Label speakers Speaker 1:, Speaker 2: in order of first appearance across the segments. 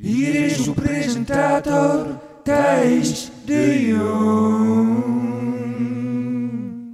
Speaker 1: Hier is uw presentator Thijs de Jong.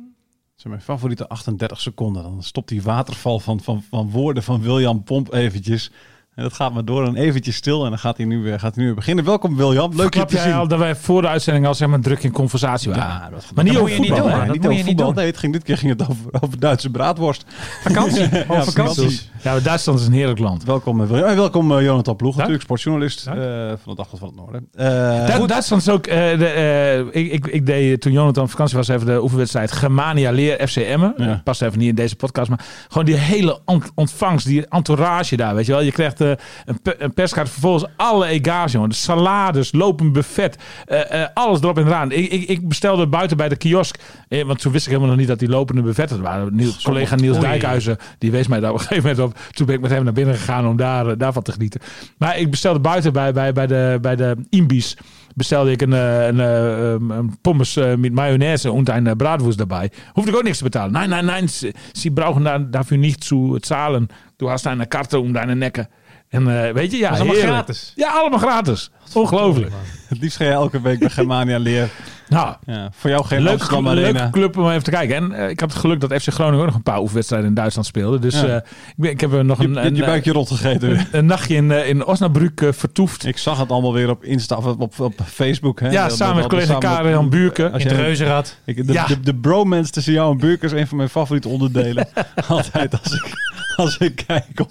Speaker 2: Dat zijn mijn favoriete 38 seconden. Dan stopt die waterval van, van, van woorden van William Pomp eventjes. En dat gaat maar door en eventjes stil. En dan gaat hij nu weer, gaat hij nu weer beginnen. Welkom William, leuk je
Speaker 3: Verklap
Speaker 2: te
Speaker 3: jij
Speaker 2: zien.
Speaker 3: al dat wij voor de uitzending al zeg maar druk in conversatie waren?
Speaker 2: Ja, dat,
Speaker 3: Maar niet
Speaker 2: dat
Speaker 3: over
Speaker 2: moet je
Speaker 3: voetbal,
Speaker 2: doen,
Speaker 3: hè?
Speaker 2: hè?
Speaker 3: Dat
Speaker 2: Niet
Speaker 3: moet je
Speaker 2: over
Speaker 3: niet
Speaker 2: voetbal.
Speaker 3: doen.
Speaker 2: Nee, het ging, dit keer ging het over, over Duitse braadworst.
Speaker 4: Vakantie. Op
Speaker 2: Ja,
Speaker 4: vakantie.
Speaker 2: precies.
Speaker 3: Ja, maar Duitsland is een heerlijk land.
Speaker 2: Welkom eh, William en welkom eh, Jonathan Ploeg,
Speaker 3: Dank.
Speaker 2: natuurlijk sportjournalist
Speaker 3: Dank.
Speaker 2: eh, van het Dagblad van het Noorden. Eh,
Speaker 3: Du-
Speaker 2: goed.
Speaker 3: Duitsland is ook. eh, de, eh, ik, ik, ik deed eh, toen Jonathan op vakantie was even de oefenwedstrijd Germania Leer FC Emmen.
Speaker 2: Ja.
Speaker 3: Dat Eh, Past even niet in deze podcast, maar gewoon die hele ont- ontvangst, die entourage daar, weet je wel. Je krijgt eh, een, pe- een perskaart, vervolgens alle ega's, jongen. De salades, lopend buffet, eh, eh, alles erop en eraan. Ik, ik, ik bestelde buiten bij de kiosk, eh, want toen wist ik helemaal nog niet dat die lopende buffetten waren. Niels- collega Niels Dijkhuizen, die wees mij daar op een gegeven moment op. Toen ben ik met hem naar binnen gegaan om daar, eh, daarvan te genieten. Maar ik bestelde buiten bij, bij, bij de, bij de Imbies bestelde ik een, eh, een, eh, ehm, een pommes eh, met mayonaise en een eh, braadwoest daarbij. Hoefde ik ook niks te betalen. Nee, nee, nee. ze- Sie brauchen da, dafür nicht zu zahlen. Du hast eine Karte um deine Nekken. En eh, weet je, ja,
Speaker 4: allemaal
Speaker 3: heerlijk.
Speaker 4: gratis.
Speaker 3: Ja, allemaal gratis. Ongelooflijk.
Speaker 2: het liefst ga je elke week bij Germania leren.
Speaker 3: Nou,
Speaker 2: Ja, voor jou geen
Speaker 3: leuk,
Speaker 2: Amsterdam
Speaker 3: leuke
Speaker 2: Arena.
Speaker 3: club om even te kijken. En eh, ik had het geluk dat FC Groningen ook nog een paar oefenwedstrijden in Duitsland speelde. Dus
Speaker 2: Ja.
Speaker 3: eh, ik, ben- ik heb er nog
Speaker 2: Je,
Speaker 3: een,
Speaker 2: je,
Speaker 3: een, eh,
Speaker 2: je buikje rot gegeten.
Speaker 3: een, een nachtje in, eh, in Osnabrück eh, vertoefd.
Speaker 2: Ik eh, zag het allemaal weer op Insta, of op, op Facebook. Hè?
Speaker 3: ja,
Speaker 2: Dat-
Speaker 3: samen met
Speaker 2: dat- dat-
Speaker 3: collega
Speaker 2: samen met-
Speaker 3: Karel Buurken.
Speaker 2: Als
Speaker 4: In het
Speaker 2: jij-
Speaker 4: reuzenrad.
Speaker 2: Ik, de,
Speaker 3: Ja.
Speaker 2: de, de bromance tussen jou en Burke is een van mijn favoriete onderdelen. Altijd als ik, als ik kijk op,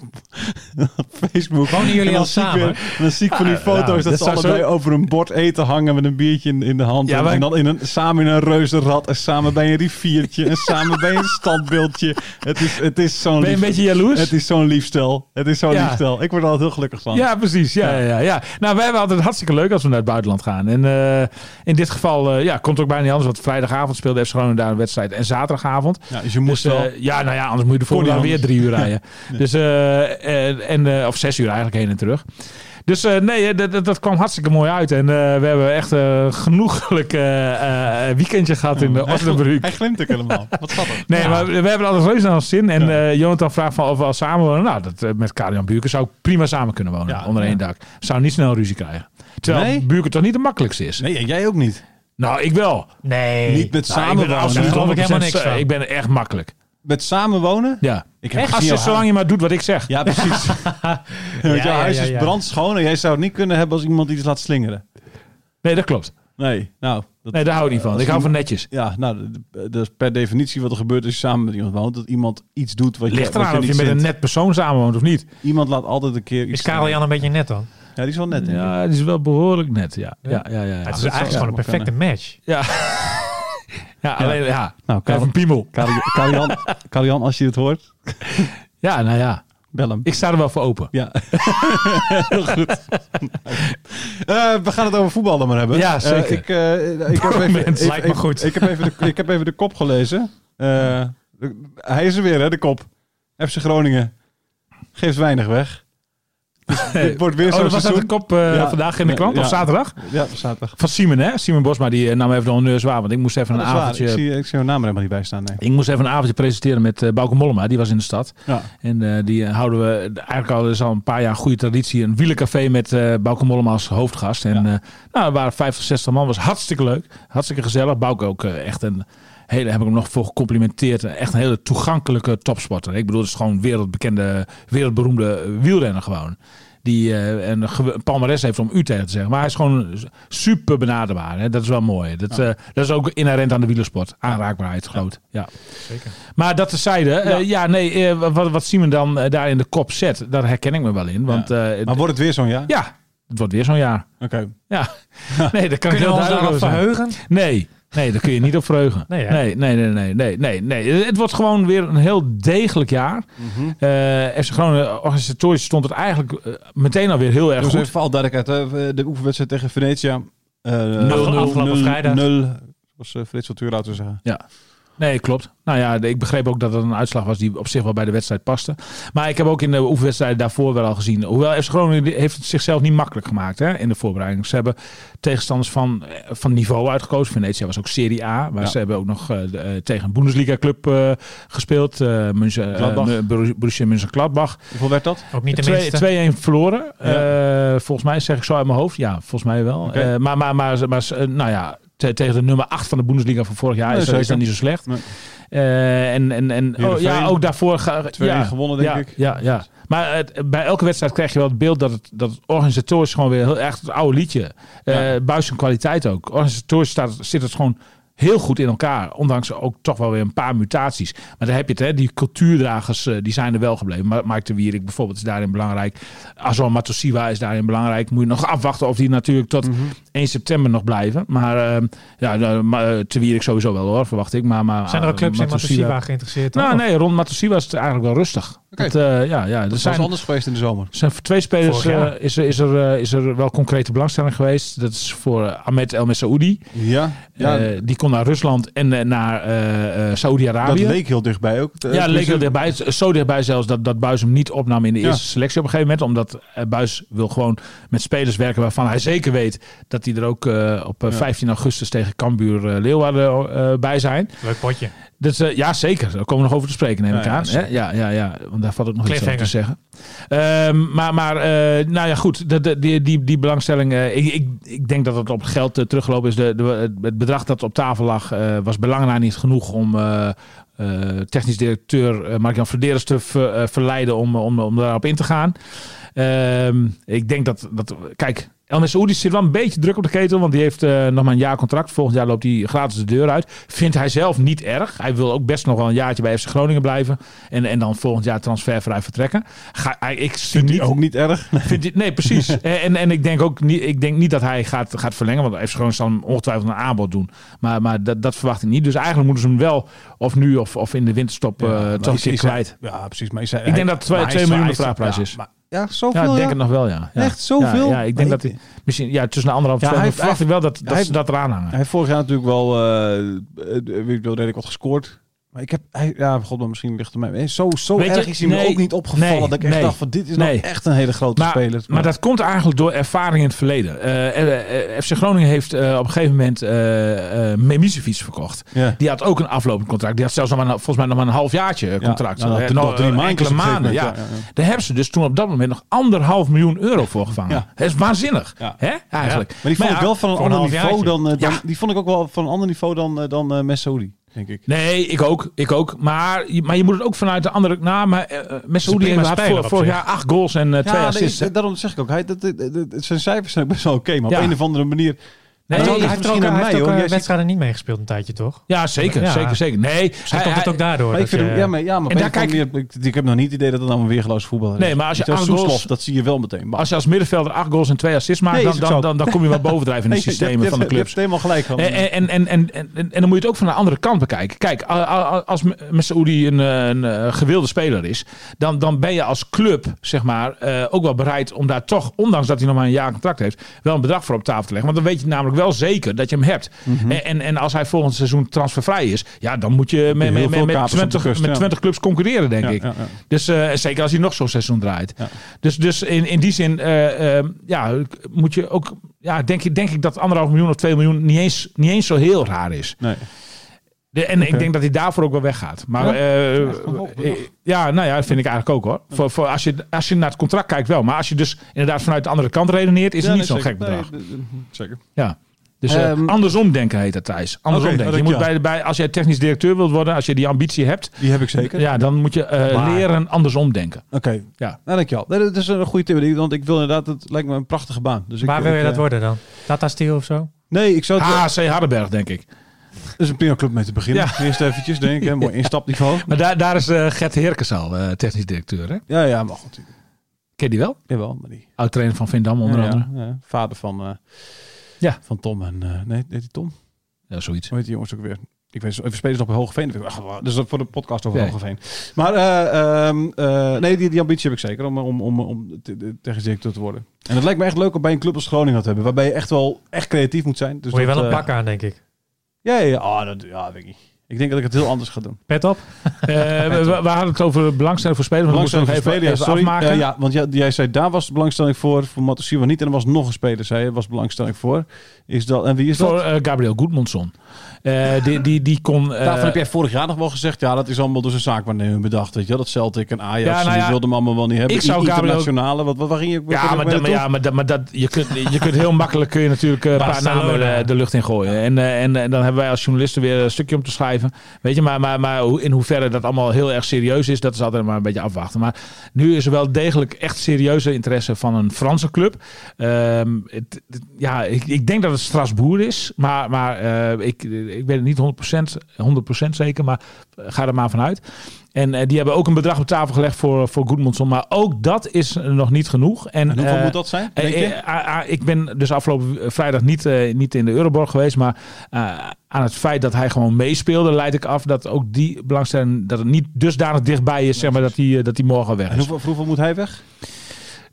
Speaker 2: op Facebook.
Speaker 4: Wonen jullie
Speaker 2: En dan
Speaker 4: al
Speaker 2: zie ik
Speaker 4: samen?
Speaker 2: weer- dan zie ik van die
Speaker 3: Ah,
Speaker 2: foto's
Speaker 3: nou,
Speaker 2: dat,
Speaker 3: dat
Speaker 2: ze
Speaker 3: zou zo-
Speaker 2: allebei over een bord eten hangen met een biertje in, in de hand.
Speaker 3: Ja,
Speaker 2: en,
Speaker 3: maar-
Speaker 2: dan in een, samen in een reuzenrad en samen bij een riviertje en samen bij een standbeeldje. Het is, het is zo'n
Speaker 3: Ben je een
Speaker 2: lief-
Speaker 3: beetje jaloers?
Speaker 2: Het is zo'n liefstel. Het is zo'n
Speaker 3: Ja.
Speaker 2: liefstel. Ik word er altijd heel gelukkig van.
Speaker 3: Ja, precies. Ja, ja. Ja, ja. Nou, wij hebben altijd hartstikke leuk als we naar het buitenland gaan. En eh, in dit geval eh, ja, komt ook bijna niet anders. Want vrijdagavond speelde FC Groningen daar een wedstrijd. En zaterdagavond.
Speaker 2: Ja, dus je moest
Speaker 3: Dus, eh,
Speaker 2: wel.
Speaker 3: ja, nou ja, anders moet je de
Speaker 2: Kon niet
Speaker 3: volgende dag weer
Speaker 2: anders.
Speaker 3: drie uur rijden. dus, eh, en, en, eh, of zes uur eigenlijk heen en terug. Dus eh, nee, eh, dat, dat, dat kwam hartstikke mooi uit. En eh, we hebben echt een genoegelijk eh, eh, weekendje gehad in de
Speaker 2: hij, glim-
Speaker 3: Osnabrück.
Speaker 2: hij glimt ook helemaal. Wat grappig.
Speaker 3: Nee,
Speaker 4: Ja.
Speaker 3: maar we hebben er altijd reuze naar ons zin. En eh, Jonathan vraagt van of we al samen wonen. Nou, dat, eh, met Karian Buurken zou ik prima samen kunnen wonen.
Speaker 2: Ja,
Speaker 3: onder één dak. Zou niet snel ruzie krijgen. Terwijl
Speaker 2: Nee?
Speaker 3: Buurken toch niet de makkelijkste is.
Speaker 2: Nee, en jij ook niet.
Speaker 3: Nou, ik wel.
Speaker 4: Nee.
Speaker 2: Niet met
Speaker 3: Nou, ik ben er
Speaker 2: samenwonen.
Speaker 3: absoluut
Speaker 4: Daar geloof ik
Speaker 3: 100%
Speaker 4: helemaal niks
Speaker 3: zo-
Speaker 4: van.
Speaker 3: Ik ben echt makkelijk.
Speaker 2: Met samenwonen?
Speaker 3: Ja.
Speaker 2: Ik
Speaker 4: Echt?
Speaker 3: Als
Speaker 2: gezien
Speaker 3: je,
Speaker 2: jouw
Speaker 3: zolang je maar doet wat ik zeg.
Speaker 2: Ja, precies. Want
Speaker 4: Ja,
Speaker 2: jouw
Speaker 4: ja,
Speaker 2: huis
Speaker 4: ja,
Speaker 2: is
Speaker 4: ja.
Speaker 2: brandschoon en jij zou het niet kunnen hebben als iemand die iets laat slingeren.
Speaker 3: Nee, dat klopt.
Speaker 2: Nee, nou. Dat,
Speaker 3: Nee, daar hou ik niet van. Ik hou van netjes.
Speaker 2: Ja, nou, d- d- dat is per definitie wat er gebeurt als je samen met iemand woont. Dat iemand iets doet wat je,
Speaker 3: Ligt
Speaker 2: wat
Speaker 3: eraan of
Speaker 2: niet
Speaker 3: je met een
Speaker 2: vindt.
Speaker 3: net persoon samenwoont of niet.
Speaker 2: Iemand laat altijd een keer iets
Speaker 4: Is Karel Jan een beetje net dan?
Speaker 2: slingeren. Ja, die is wel net. denk ik.
Speaker 3: Ja, het is wel behoorlijk net. Ja,
Speaker 4: Ja?
Speaker 3: ja, ja. ja, ja.
Speaker 4: het is
Speaker 2: dat
Speaker 4: eigenlijk
Speaker 2: zou
Speaker 4: gewoon een
Speaker 2: kunnen.
Speaker 4: perfecte match.
Speaker 3: Ja. Ja, alleen, ja.
Speaker 2: Nou,
Speaker 3: Even
Speaker 2: Karel-
Speaker 3: een piemel.
Speaker 2: Karel- Karel Jan- Karel Jan, als je dit hoort,
Speaker 3: Ja, nou ja.
Speaker 2: bel hem.
Speaker 3: Ik sta er wel voor open.
Speaker 2: Ja, heel goed. Eh, we gaan het over voetbal dan maar hebben.
Speaker 3: Ja,
Speaker 2: Eh,
Speaker 3: zeker.
Speaker 2: ik, eh, ik, heb even,
Speaker 3: Moment,
Speaker 2: even-
Speaker 4: lijkt me
Speaker 2: even-
Speaker 4: goed.
Speaker 2: Ik heb even de, ik heb even de kop gelezen. Eh, de- hij is er weer, hè, de kop. FC Groningen geeft weinig weg. Dus dit wordt weer
Speaker 3: Oh,
Speaker 2: zo'n
Speaker 3: dat was dat de
Speaker 2: seizoen.
Speaker 3: kop eh,
Speaker 2: Ja.
Speaker 3: vandaag in de
Speaker 2: Ja,
Speaker 3: krant?
Speaker 2: ja.
Speaker 3: Of zaterdag?
Speaker 2: Ja, zaterdag.
Speaker 3: Van Simon, hè? Simon Bosma, die eh, nam even de honneur zwaar. Want ik moest even
Speaker 2: Dat
Speaker 3: een
Speaker 2: is waar. Ik
Speaker 3: avondje...
Speaker 2: zie, ik zie hun naam er helemaal niet bij staan. Nee.
Speaker 3: Ik moest even een avondje presenteren met eh, Bauke Mollema. Die was in de stad.
Speaker 2: Ja.
Speaker 3: En eh, die eh, houden we eigenlijk al, is al een paar jaar goede traditie. Een wielencafé met eh Bauke Mollema als hoofdgast. En eh, nou, er waren 50, 60 man. was hartstikke leuk. Hartstikke gezellig. Bauke ook eh, echt een hele, heb ik hem nog voor gecomplimenteerd. eh, Echt een hele toegankelijke topsporter. Ik bedoel, het is gewoon wereldbekende, wereldberoemde wielrenner gewoon. die eh, een, ge- een palmares heeft om Utrecht te zeggen. Maar hij is gewoon super benaderbaar. Hè? Dat is wel mooi. Dat, eh, dat is ook inherent aan de wielersport. Aanraakbaarheid groot. Ja.
Speaker 4: Zeker.
Speaker 3: Maar dat tezijde. Ja, ja nee, eh, wat, wat Simon dan eh, daar in de kop zet, daar herken ik me wel in. Want eh,
Speaker 2: Maar wordt het weer zo'n jaar?
Speaker 3: ja, het wordt weer zo'n jaar.
Speaker 2: Oké.
Speaker 3: Ja, nee, dat kan ik
Speaker 4: Kunnen
Speaker 3: heel
Speaker 4: we
Speaker 3: duidelijk
Speaker 4: ons daarop
Speaker 3: over zijn.
Speaker 4: verheugen?
Speaker 3: Nee, nee, daar kun je niet op verheugen.
Speaker 4: Nee, hè?
Speaker 3: nee, nee, nee, nee, nee, nee, nee. Het wordt gewoon weer een heel degelijk jaar. Eh FC Groningen organisatorisch stond het eigenlijk eh, meteen alweer heel erg
Speaker 2: Dus
Speaker 3: goed.
Speaker 2: even voor alle duidelijkheid, hè, eh, de oefenwedstrijd tegen Venetia. eh, 0-0,
Speaker 4: afgelopen
Speaker 2: 0-0,
Speaker 4: vrijdag.
Speaker 2: 0, zoals eh, Frits van Tuurhout zou zeggen.
Speaker 3: Nee, klopt. Nou ja, ik begreep ook dat het een uitslag was die op zich wel bij de wedstrijd paste. Maar ik heb ook in de oefenwedstrijden daarvoor wel al gezien. Hoewel FC Groningen heeft het zichzelf niet makkelijk gemaakt hè, in de voorbereiding. Ze hebben tegenstanders van, eh, van niveau uitgekozen. Venetia was ook Serie A. Maar
Speaker 2: Ja.
Speaker 3: ze hebben ook nog eh, de, eh, tegen een Bundesliga-club eh, gespeeld. eh München,
Speaker 2: Gladbach.
Speaker 3: eh, Borussia- Borussia Mönchengladbach.
Speaker 2: Hoeveel werd dat?
Speaker 4: Ook niet de
Speaker 3: Twee-
Speaker 4: minste.
Speaker 3: 2-1 verloren. Eh, volgens mij zeg ik zo uit mijn hoofd. Ja, volgens mij wel.
Speaker 2: Oké.
Speaker 3: Eh, maar, maar, maar, maar eh, nou ja, te- tegen de nummer 8 van de Bundesliga van vorig jaar
Speaker 2: Nee,
Speaker 3: is, dat- is
Speaker 2: zeker.
Speaker 3: dat niet zo slecht.
Speaker 2: Nee.
Speaker 3: Eh, en en, en oh,
Speaker 2: Heerenveen.
Speaker 3: ja, ook daarvoor... Ga,
Speaker 2: 2-1
Speaker 3: ja,
Speaker 2: gewonnen, denk
Speaker 3: ja,
Speaker 2: ik.
Speaker 3: Ja, ja. Maar het- bij elke wedstrijd krijg je wel het beeld dat het, dat het organisatorisch gewoon weer heel echt het oude liedje. eh
Speaker 2: Ja.
Speaker 3: Buis en kwaliteit ook. Organisatorisch staat, zit het gewoon heel goed in elkaar. Ondanks ook toch wel weer een paar mutaties. Maar daar heb je het, hè. Die cultuurdragers, eh, die zijn er wel gebleven. Ma- Mike de Wierik bijvoorbeeld is daarin belangrijk. Azor Matosiwa is daarin belangrijk. Moet je nog afwachten of die natuurlijk
Speaker 4: Mm.
Speaker 2: Mhm.
Speaker 3: tot 1 september nog blijven. Maar eh, ja, nou, maar, eh, de Wierik sowieso wel hoor, verwacht ik. Maar, maar,
Speaker 4: Zijn er ook clubs in
Speaker 3: Matosiwa-
Speaker 4: Matosiba geïnteresseerd?
Speaker 3: nou,
Speaker 4: Of-
Speaker 3: nee, rond Matosiwa is het eigenlijk wel rustig.
Speaker 2: Oké.
Speaker 3: Dat, eh, ja, ja, er
Speaker 2: Dat was
Speaker 3: zijn,
Speaker 2: anders geweest in de zomer.
Speaker 3: zijn voor twee spelers
Speaker 4: Vorig
Speaker 3: eh,
Speaker 4: jaar.
Speaker 3: is, er, is, er, eh, is er wel concrete belangstelling geweest. Dat is voor eh, Ahmed El Messaoudi.
Speaker 2: Ja, ja
Speaker 3: Eh, die kon naar Rusland en eh, naar eh, eh,
Speaker 2: dat
Speaker 3: Saudi-Arabië.
Speaker 2: leek heel dichtbij ook.
Speaker 3: Ja, leek heel dichtbij. Zo dichtbij zelfs dat, dat Buis hem niet opnam in de
Speaker 2: Ja.
Speaker 3: eerste selectie op een gegeven moment. Omdat eh, Buis wil gewoon met spelers werken waarvan hij zeker weet dat die er ook eh, op eh,
Speaker 2: Ja.
Speaker 3: 15 augustus tegen Cambuur eh, Leeuwarden eh, bij zijn.
Speaker 4: Leuk potje.
Speaker 3: Dus, eh, ja, zeker. Daar komen we nog over te spreken, neem
Speaker 2: Ja,
Speaker 3: ik
Speaker 2: ja,
Speaker 3: aan. hè? Ja, ja, ja, want daar valt ook nog iets over te zeggen. Ehm, maar, maar eh, nou ja, goed. De, de- die, die, die belangstelling... eh, ik, ik, ik denk dat het op geld eh, teruggelopen is. De, de, het- het bedrag dat op tafel lag eh, was belangrijk niet genoeg om... eh, eh, technisch directeur eh, Mark-Jan Verderens te ver- eh, verleiden om, om, om daarop in te gaan. Ehm, ik denk dat, dat kijk, El Oudi zit wel een beetje druk op de ketel, want die heeft eh, nog maar een jaar contract. Volgend jaar loopt hij gratis de deur uit. Vindt hij zelf niet erg. Hij wil ook best nog wel een jaartje bij FC Groningen blijven en, en dan volgend jaar transfervrij vertrekken. Ga, hij- ik zie
Speaker 2: Vindt
Speaker 3: niet,
Speaker 2: hij ook niet erg?
Speaker 3: Vindt hij- nee, precies. Eh, en, en ik denk ook niet, ik denk niet dat hij gaat, gaat verlengen. Want FC Groningen zal hem ongetwijfeld een aanbod doen. Maar, maar dat, dat verwacht ik niet. Dus eigenlijk moeten ze hem wel, of nu of, of in de winterstop, eh,
Speaker 2: maar
Speaker 3: toch een
Speaker 2: is-
Speaker 3: keer
Speaker 2: is hij-
Speaker 3: kwijt.
Speaker 2: Ja, precies. Maar is hij-
Speaker 3: Ik denk
Speaker 2: hij-
Speaker 3: dat twee-
Speaker 2: maar hij
Speaker 3: twee
Speaker 2: is-
Speaker 3: miljoen
Speaker 2: hij
Speaker 3: de
Speaker 2: is-
Speaker 3: vraagprijs
Speaker 2: ja,
Speaker 3: is.
Speaker 2: maar- Ja,
Speaker 3: Ja, ik
Speaker 2: zoveel.
Speaker 3: denk
Speaker 2: ja.
Speaker 3: het nog wel, ja. ja.
Speaker 2: Echt zoveel?
Speaker 3: Ja, ja, ik denk dat hij, misschien, ja, tussen de anderhalf,
Speaker 2: Ja,
Speaker 3: twee
Speaker 2: hij
Speaker 3: miljoen verwacht ik wel dat, dat
Speaker 2: hij-
Speaker 3: ze dat eraan hangen.
Speaker 2: Hij heeft vorig jaar natuurlijk wel, eh eh, ik wil redelijk wat gescoord. Maar ik heb, hij, ja, god, maar misschien ligt het mij. eh, Zo, zo
Speaker 3: Weet je,
Speaker 2: erg is hij
Speaker 3: nee,
Speaker 2: me ook niet opgevallen
Speaker 3: nee,
Speaker 2: dat ik echt
Speaker 3: nee,
Speaker 2: dacht van dit is
Speaker 3: nee.
Speaker 2: nou echt een hele grote
Speaker 3: Maar,
Speaker 2: speler.
Speaker 3: maar dat komt eigenlijk door ervaring in het verleden. Eh, eh, eh, FC Groningen heeft eh, op een gegeven moment eh eh Memisevic verkocht.
Speaker 2: ja.
Speaker 3: Die had ook een aflopend contract. Die had zelfs nog maar, een- volgens mij nog maar een halfjaartje contract.
Speaker 2: Ja, nou,
Speaker 3: Eh,
Speaker 2: nog- nog drie
Speaker 3: eh,
Speaker 2: maandjes
Speaker 3: enkele
Speaker 2: op een
Speaker 3: maanden.
Speaker 2: gegeven
Speaker 3: Ja.
Speaker 2: moment, ja, ja,
Speaker 3: Daar hebben ze dus toen op dat moment nog anderhalf miljoen euro voor gevangen.
Speaker 2: Ja.
Speaker 3: Dat is waanzinnig.
Speaker 2: Ja.
Speaker 3: Hè? Eigenlijk.
Speaker 2: Maar die vond
Speaker 3: ja,
Speaker 2: ik wel van een
Speaker 4: voor een
Speaker 2: ander niveau
Speaker 4: halfjaartje.
Speaker 2: dan, eh, dan
Speaker 3: Ja.
Speaker 2: die vond ik ook wel van een ander niveau dan eh, dan eh Messaoudi, denk ik.
Speaker 3: Nee, ik ook. Ik ook. Maar, je- maar je moet het ook vanuit de andere... Nou, maar eh, eh, Messi
Speaker 4: prima
Speaker 3: had
Speaker 4: speler
Speaker 3: voor-
Speaker 4: op
Speaker 3: vorig
Speaker 4: zich.
Speaker 3: jaar acht goals en eh, twee
Speaker 2: nee,
Speaker 3: assists.
Speaker 2: ik- daarom zeg ik ook. Hij, dat, dat- dat- dat- zijn cijfers zijn ook best wel oké, maar
Speaker 3: Ja.
Speaker 2: op een of andere manier.
Speaker 3: Nee,
Speaker 2: hij
Speaker 3: hij
Speaker 2: ligt
Speaker 3: heeft
Speaker 4: Hij heeft er ook,
Speaker 2: misschien
Speaker 4: hij
Speaker 2: aan
Speaker 4: heeft
Speaker 2: mij,
Speaker 4: ook
Speaker 2: hoor.
Speaker 4: eh,
Speaker 2: Jij ziet-
Speaker 4: wedstrijden niet meegespeeld een tijdje, toch?
Speaker 3: Ja, zeker.
Speaker 4: Ja.
Speaker 3: Zeker, zeker. Nee,
Speaker 4: Hij komt
Speaker 3: hij-
Speaker 4: het ook daardoor.
Speaker 2: Maar ik
Speaker 4: dat
Speaker 2: vind
Speaker 4: je-
Speaker 2: hem- ja, maar, ja, maar
Speaker 3: En
Speaker 2: op een
Speaker 3: daar
Speaker 2: of andere manier- ik, ik heb nog niet het idee dat het allemaal weergeloos voetbal is.
Speaker 3: Nee, maar als je
Speaker 2: Niet als
Speaker 3: acht goals-
Speaker 2: Soeslof, dat zie je wel meteen. Maar
Speaker 3: Als je als middenvelder acht goals en twee assists maakt,
Speaker 2: Nee, is
Speaker 3: dan,
Speaker 2: ook
Speaker 3: dan,
Speaker 2: zo.
Speaker 3: dan, dan kom je wel bovendrijven in de
Speaker 2: Nee, je hebt-
Speaker 3: systemen
Speaker 2: je
Speaker 3: van de
Speaker 2: hebt-
Speaker 3: clubs. Eh,
Speaker 2: Je hebt het helemaal gelijk.
Speaker 3: En, en, en, en, en, en dan moet je het ook van de andere kant bekijken. Kijk, a- a- als M- Messaoudi een, eh, een eh, gewilde speler is, dan, dan ben je als club zeg maar, eh, ook wel bereid om daar toch, ondanks dat hij nog maar een jaar contract heeft, wel een bedrag voor op tafel te leggen. Want dan weet je namelijk wel zeker dat je hem hebt.
Speaker 2: Mhm.
Speaker 3: en, en, en als hij volgend seizoen transfervrij is, ja, dan moet je met,
Speaker 2: heel
Speaker 3: met,
Speaker 2: veel
Speaker 3: met, met,
Speaker 2: kapers op de
Speaker 3: 20,
Speaker 2: kust,
Speaker 3: met
Speaker 2: ja.
Speaker 3: 20 clubs concurreren, denk ik.
Speaker 2: ja, ja.
Speaker 3: Dus eh, zeker als hij nog zo'n seizoen draait.
Speaker 2: Ja.
Speaker 3: Dus, dus in, in die zin eh, eh, ja, moet je ook. Ja, denk, ik- denk ik dat anderhalf miljoen of twee miljoen niet eens, niet eens zo heel raar is.
Speaker 2: Nee.
Speaker 3: De- en ik denk dat hij daarvoor ook wel weggaat. Maar eh, eh, ja, nou ja, dat vind ik eigenlijk ook hoor. Voor, voor als, je, als je naar het contract kijkt wel. Maar als je dus inderdaad vanuit de andere kant redeneert, is het niet zo'n gek bedrag.
Speaker 2: zeker.
Speaker 3: Ja. Dus eh,
Speaker 2: Ehm,
Speaker 3: andersom denken heet dat, Thijs. Andersom
Speaker 2: Oké,
Speaker 3: denken. Je
Speaker 2: dat-
Speaker 3: moet
Speaker 2: ja.
Speaker 3: bij, bij, als jij technisch directeur wilt worden, als je die ambitie hebt,
Speaker 2: Die heb ik zeker.
Speaker 3: ja, dan moet je eh,
Speaker 2: Maar-
Speaker 3: leren andersom denken.
Speaker 2: Oké,
Speaker 3: Ja.
Speaker 2: nou dankjewel. Nee, Dat is een goede tip, want ik wil inderdaad, het lijkt me een prachtige baan. Dus
Speaker 4: Waar
Speaker 2: ik,
Speaker 4: wil
Speaker 2: ik,
Speaker 4: je
Speaker 2: eh,
Speaker 4: dat worden dan? Tata Steel of zo?
Speaker 2: Nee, ik zou het wel-
Speaker 3: HC Hardenberg, denk ik.
Speaker 2: Dat is een prima club mee te beginnen. Eerst eventjes, denk ik. hè. Mooi instapniveau.
Speaker 3: Maar daar, daar is eh, Gert Heerkens al, eh, technisch directeur. Hè?
Speaker 2: Ja, ja, maar goed.
Speaker 3: Ken je die wel?
Speaker 2: Jawel, maar die...
Speaker 3: Oud-trainer van Vindam onder
Speaker 2: ja, ja,
Speaker 3: andere.
Speaker 2: ja. vader van, eh,
Speaker 3: Ja.
Speaker 2: van Tom en... eh, nee, heet die Tom?
Speaker 3: Ja, zoiets.
Speaker 2: Hoe heet die jongens ook weer? Ik weet even spelen ze nog bij Hogeveen. Dat vind ik- Ach, dus dat is voor de podcast over
Speaker 3: Ja.
Speaker 2: Hogeveen. Maar eh, ehm, eh, nee, die, die ambitie heb ik zeker om, om, om, om te- te- technisch directeur te worden. En het lijkt me echt leuk om bij een club als Groningen te hebben. Waarbij je echt wel echt creatief moet zijn. Dus
Speaker 4: Moet je
Speaker 2: dat,
Speaker 4: wel een
Speaker 2: eh,
Speaker 4: pak aan, denk ik.
Speaker 2: Ja, ja, ja. Ah, dat, ja weet ik niet. Ik denk dat ik het heel anders ga doen.
Speaker 4: Pet op.
Speaker 3: Eh, we, we hadden het over belangstelling voor spelers. Maar
Speaker 2: Belangstelling
Speaker 3: belangstelling even,
Speaker 2: voor spelen, ja,
Speaker 3: even
Speaker 2: sorry.
Speaker 3: afmaken.
Speaker 2: Eh, ja, want jij, jij zei daar was de belangstelling voor, voor Matosiwa niet. En er was nog een speler, zei je, was belangstelling voor. Is dat, en wie is
Speaker 3: Voor
Speaker 2: dat?
Speaker 3: eh, Gabriel Goedmondsson. Eh, die, die, die kon... eh,
Speaker 2: Daarvan heb jij vorig jaar nog wel gezegd, ja, dat is allemaal dus door zijn zaakwaarnemer bedacht. Weet je, wel. dat Celtic en Ajax,
Speaker 3: Ja, nou
Speaker 2: en die
Speaker 3: ja,
Speaker 2: wilden hem allemaal wel niet hebben.
Speaker 3: ik zou
Speaker 2: I-
Speaker 3: Gabriel-
Speaker 2: Internationale, wat, wat, waar ging je waar ging
Speaker 3: ja,
Speaker 2: je
Speaker 3: maar,
Speaker 2: mee
Speaker 3: dat, maar,
Speaker 2: naartoe?
Speaker 3: ja, maar, dat, maar dat, je, kunt, je kunt heel makkelijk kun je natuurlijk eh, een paar
Speaker 4: Barcelona.
Speaker 3: namen eh, de lucht in gooien. En, eh, en, en dan hebben wij als journalisten weer een stukje om te schrijven. Weet je, maar, maar, maar hoe- in hoeverre dat allemaal heel erg serieus is, dat is altijd maar een beetje afwachten. Maar nu is er wel degelijk echt serieuze interesse van een Franse club. Ehm, het, het- ja, ik, ik denk dat het Strasbourg is, maar, maar eh, ik, ik weet het niet 100%, 100 zeker, maar eh, ga er maar vanuit. En eh, die hebben ook een bedrag op tafel gelegd voor, voor Goedmondson. Maar ook dat is eh, nog niet genoeg. En,
Speaker 2: En hoeveel
Speaker 3: eh,
Speaker 2: moet dat zijn,
Speaker 3: eh,
Speaker 2: denk je?
Speaker 3: eh, ah, ah, ik ben dus afgelopen eh, vrijdag niet, eh, niet in de Euroborg geweest. Maar eh, aan het feit dat hij gewoon meespeelde, leid ik af dat ook die belangstelling. dat het niet dusdanig dichtbij is, zeg maar, dat hij eh, dat die morgen weg
Speaker 2: en
Speaker 3: is.
Speaker 2: hoeveel, voor hoeveel moet hij weg?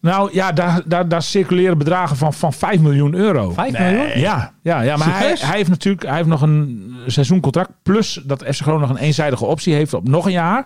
Speaker 3: Nou ja, daar, daar, daar circuleren bedragen van, van 5 miljoen euro.
Speaker 4: 5 miljoen?
Speaker 3: Ja, ja, ja maar hij,
Speaker 2: Serieus?
Speaker 3: hij heeft natuurlijk hij heeft nog een seizoencontract. Plus dat FC Groningen nog een eenzijdige optie heeft op nog een jaar.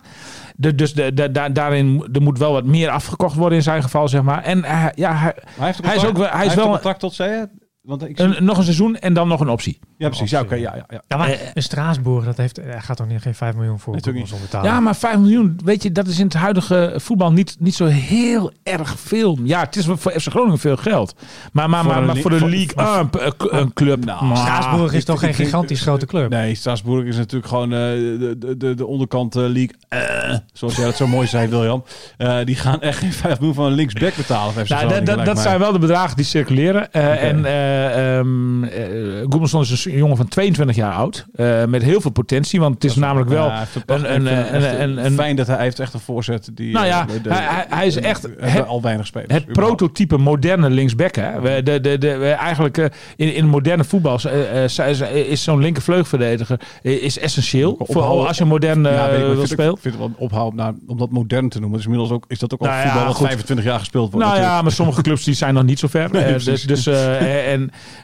Speaker 3: De, dus de, de- da- daarin er moet wel wat meer afgekocht worden in zijn geval, zeg maar. En hij- ja, hij,
Speaker 2: Hij heeft een
Speaker 3: Hij is
Speaker 2: contract,
Speaker 3: ook wel- hij is
Speaker 2: heeft
Speaker 3: wel
Speaker 2: een
Speaker 3: een-
Speaker 2: contract tot, zei je? Want ik zie-
Speaker 3: een, nog een seizoen en dan nog een optie.
Speaker 2: ja, precies. Ja, oké, ja, ja, ja.
Speaker 4: Ja, maar
Speaker 3: Eh,
Speaker 4: een Straatsburg, dat heeft, hij gaat toch niet geen 5 miljoen voor
Speaker 2: Nee, natuurlijk
Speaker 4: Goedemans betalen?
Speaker 3: Ja, maar 5 miljoen, weet je, dat is in het huidige voetbal niet, niet zo heel erg veel. Ja, het is wel voor FC Groningen veel geld. Maar, maar,
Speaker 2: Voor
Speaker 3: maar,
Speaker 2: een
Speaker 3: maar
Speaker 2: li-
Speaker 3: voor de
Speaker 2: voor-
Speaker 3: league, ah, een, een- een club.
Speaker 2: Nou,
Speaker 3: maar-
Speaker 4: Straatsburg is toch geen gigantisch grote club?
Speaker 2: Nee, Straatsburg is natuurlijk gewoon eh, de, de- de, de onderkant eh, league. eh, zoals jij dat zo mooi zei, William. Eh, die gaan echt geen 5 miljoen van een linksback betalen. Of FC
Speaker 3: Nou,
Speaker 2: Groningen,
Speaker 3: dat- dat
Speaker 2: lijkt
Speaker 3: dat
Speaker 2: mij.
Speaker 3: zijn wel de bedragen die circuleren. Eh, En eh ehm eh, Goemelson is een jongen van 22 jaar oud. eh, met heel veel potentie. Want het is namelijk wel.
Speaker 2: Ja, hij heeft een prachtig-
Speaker 3: een-
Speaker 2: ik vind
Speaker 3: een-
Speaker 2: het echt,
Speaker 3: een-
Speaker 2: eh,
Speaker 3: een-
Speaker 2: fijn dat hij hij heeft echt een voorzet die.
Speaker 3: Nou ja,
Speaker 2: eh, de- de-
Speaker 3: hij- hij- hij is
Speaker 2: eh,
Speaker 3: echt
Speaker 2: eh,
Speaker 3: het-
Speaker 2: al weinig spelers.
Speaker 3: Het prototype moderne linksback. Hè? We, de, de, de, we eigenlijk eh, in, in moderne voetbal eh, eh, zijn ze- is zo'n linkervleugelverdediger eh, is essentieel.
Speaker 2: Ophouden-
Speaker 3: Voor als je modern eh,
Speaker 2: Ja, weet ik, maar ik
Speaker 3: wil
Speaker 2: vind het-
Speaker 3: spelen.
Speaker 2: ik vind het wel ophouden naar, om dat modern te noemen. Dus inmiddels ook, is dat ook al
Speaker 3: Nou ja,
Speaker 2: voetbal wat
Speaker 3: goed.
Speaker 2: 25 jaar gespeeld wordt.
Speaker 3: Nou ja, maar sommige clubs die zijn nog niet zo ver.
Speaker 2: Nee,
Speaker 3: Eh, dus
Speaker 2: precies.
Speaker 3: dus eh, en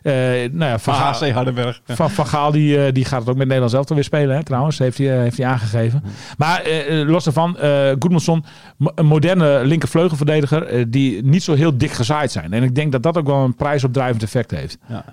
Speaker 3: eh, nou ja,
Speaker 2: Van
Speaker 3: Van Gaal-
Speaker 2: HC Hardenberg. Ja.
Speaker 3: Van, van Gaal die, eh, die gaat het ook met Nederland zelf weer spelen, hè, trouwens. Heeft hij, eh, heeft hij aangegeven. Maar eh, eh, los daarvan, eh Goedmanson, mo- een moderne linkervleugelverdediger. eh, die niet zo heel dik gezaaid zijn. En ik denk dat dat ook wel een prijsopdrijvend effect heeft.
Speaker 2: Ja.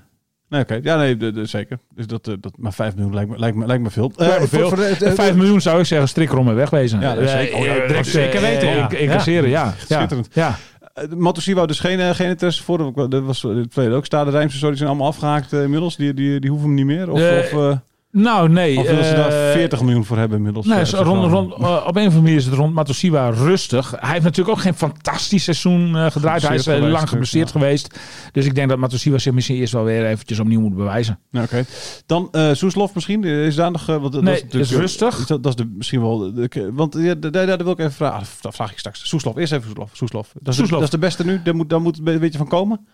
Speaker 2: Nee, oké. Ja, nee, de- de- zeker. Dus dat, eh, dat, maar 5 miljoen lijkt me, lijkt me, lijkt me veel. Eh,
Speaker 3: Lijkt me
Speaker 2: voor-
Speaker 3: veel.
Speaker 2: voor de- het-
Speaker 3: Vijf 5 miljoen zou ik zeggen, strik en wegwezen.
Speaker 2: Ja, dat is zeker. Oh, ja,
Speaker 3: Eh,
Speaker 2: dat
Speaker 3: direct,
Speaker 2: is zeker
Speaker 3: eh,
Speaker 2: weten,
Speaker 3: eh,
Speaker 2: ja.
Speaker 3: inc- Incasseren, ja. ja.
Speaker 2: Schitterend.
Speaker 3: Ja.
Speaker 2: Eh, Matossi wou dus geen, eh, geen interesse voor. Dat wa- Dat was in het verleden ook. Stade Rijmse, sorry, die zijn allemaal afgehaakt eh, inmiddels. Die, die, die hoeven hem niet meer. Of,
Speaker 3: Eh,
Speaker 2: of, eh,
Speaker 3: Nou, nee.
Speaker 2: of willen ze daar
Speaker 3: eh,
Speaker 2: 40 miljoen voor hebben inmiddels?
Speaker 3: Nou,
Speaker 2: eh,
Speaker 3: is
Speaker 2: te
Speaker 3: rond,
Speaker 2: gaan?
Speaker 3: rond, eh, op een of andere manier is het rond Matosiwa rustig. Hij heeft natuurlijk ook geen fantastisch seizoen eh, gedraaid. Hij is eh,
Speaker 2: geweest,
Speaker 3: lang geblesseerd geweest. Dus ik denk dat Matosiwa zich misschien eerst wel weer eventjes opnieuw moet bewijzen.
Speaker 2: Nou, Oké. Dan eh Soeslof misschien. Eh, Is daar nog... eh, want, dat
Speaker 3: Nee,
Speaker 2: is, natuurlijk-
Speaker 3: is rustig.
Speaker 2: Is dat, dat is de, misschien wel... de- de- want ja, daar- daar daar wil ik even vragen. Ah, Dat vraag ik straks. Soeslof, eerst even Soeslof. Soeslof. Dat, is de-
Speaker 3: Soeslof.
Speaker 2: dat is de beste nu. Daar moet, daar moet een beetje van komen.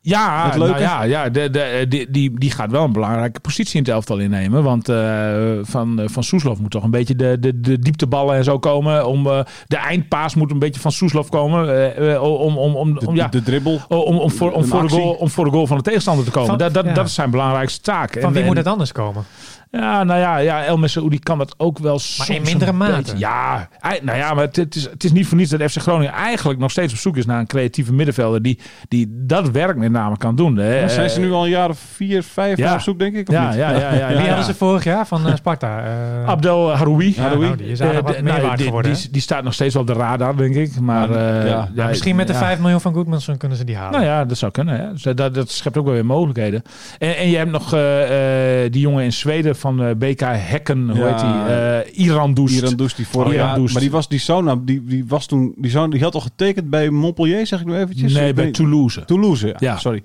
Speaker 3: Ja,
Speaker 2: Het
Speaker 3: nou
Speaker 2: leuke?
Speaker 3: ja, ja de, de, eh, die, die, die gaat wel een belangrijke positie in het elftal innemen. Want eh, van, eh, van Soeslof moet toch een beetje de, de, de diepteballen en zo komen. Om, eh, de eindpaas moet een beetje van Soeslof komen. eh, eh, om, om, om,
Speaker 2: De,
Speaker 3: om, ja,
Speaker 2: de dribbel.
Speaker 3: om, om, voor, om,
Speaker 2: een
Speaker 3: voor de
Speaker 2: actie.
Speaker 3: goal, om voor de goal van de tegenstander te komen.
Speaker 4: Van-
Speaker 3: dat, dat,
Speaker 4: ja.
Speaker 3: dat is zijn belangrijkste taak.
Speaker 4: Van wie
Speaker 3: En-
Speaker 4: moet
Speaker 3: en-
Speaker 4: het anders komen?
Speaker 3: Ja, nou ja, ja El Messaoudi kan dat ook wel soms
Speaker 4: in mindere
Speaker 3: een
Speaker 4: mate.
Speaker 3: beetje. Ja, ei- nou ja, maar het, het is, het is niet voor niets dat FC Groningen eigenlijk nog steeds op zoek is naar een creatieve middenvelder die, die dat werk met name kan doen. Hè.
Speaker 2: Dan zijn ze nu al een jaar of vier, vijf
Speaker 3: Eh, ja.
Speaker 2: jaar op zoek, denk ik? Of
Speaker 3: Ja,
Speaker 2: niet?
Speaker 3: ja, ja, ja, ja,
Speaker 4: Wie
Speaker 3: ja.
Speaker 4: hadden ze vorig jaar van eh, Sparta? Eh,
Speaker 3: Abdel Haroui.
Speaker 4: Ja, nou, die is aardig
Speaker 3: Eh,
Speaker 4: wat
Speaker 3: de-
Speaker 4: meer
Speaker 3: nou,
Speaker 4: waard
Speaker 3: die-
Speaker 4: geworden,
Speaker 3: Die,
Speaker 4: hè?
Speaker 3: die staat nog steeds wel op de radar, denk ik. Maar,
Speaker 2: Ja,
Speaker 3: eh,
Speaker 2: ja.
Speaker 3: ja,
Speaker 4: misschien met de
Speaker 3: ja.
Speaker 4: 5 miljoen van Goodmanson kunnen ze die halen.
Speaker 3: Nou ja, dat zou kunnen. Hè. Dus dat, dat schept ook wel weer mogelijkheden. En, en je hebt nog eh, eh, die jongen in Zweden van eh, BK Hekken. Hoe
Speaker 2: Ja.
Speaker 3: heet die? Eh Iran Doest.
Speaker 2: Iran Doest, die vorig
Speaker 3: Oh, Iran
Speaker 2: jaar...
Speaker 3: Doest.
Speaker 2: Maar die was die sauna, die, die was toen... Die, sauna, die had al getekend bij Montpellier, zeg ik nu eventjes?
Speaker 3: nee,
Speaker 2: Ik
Speaker 3: bij
Speaker 2: weet-
Speaker 3: Toulouse.
Speaker 2: Toulouse, ja,
Speaker 3: Ja.
Speaker 2: sorry.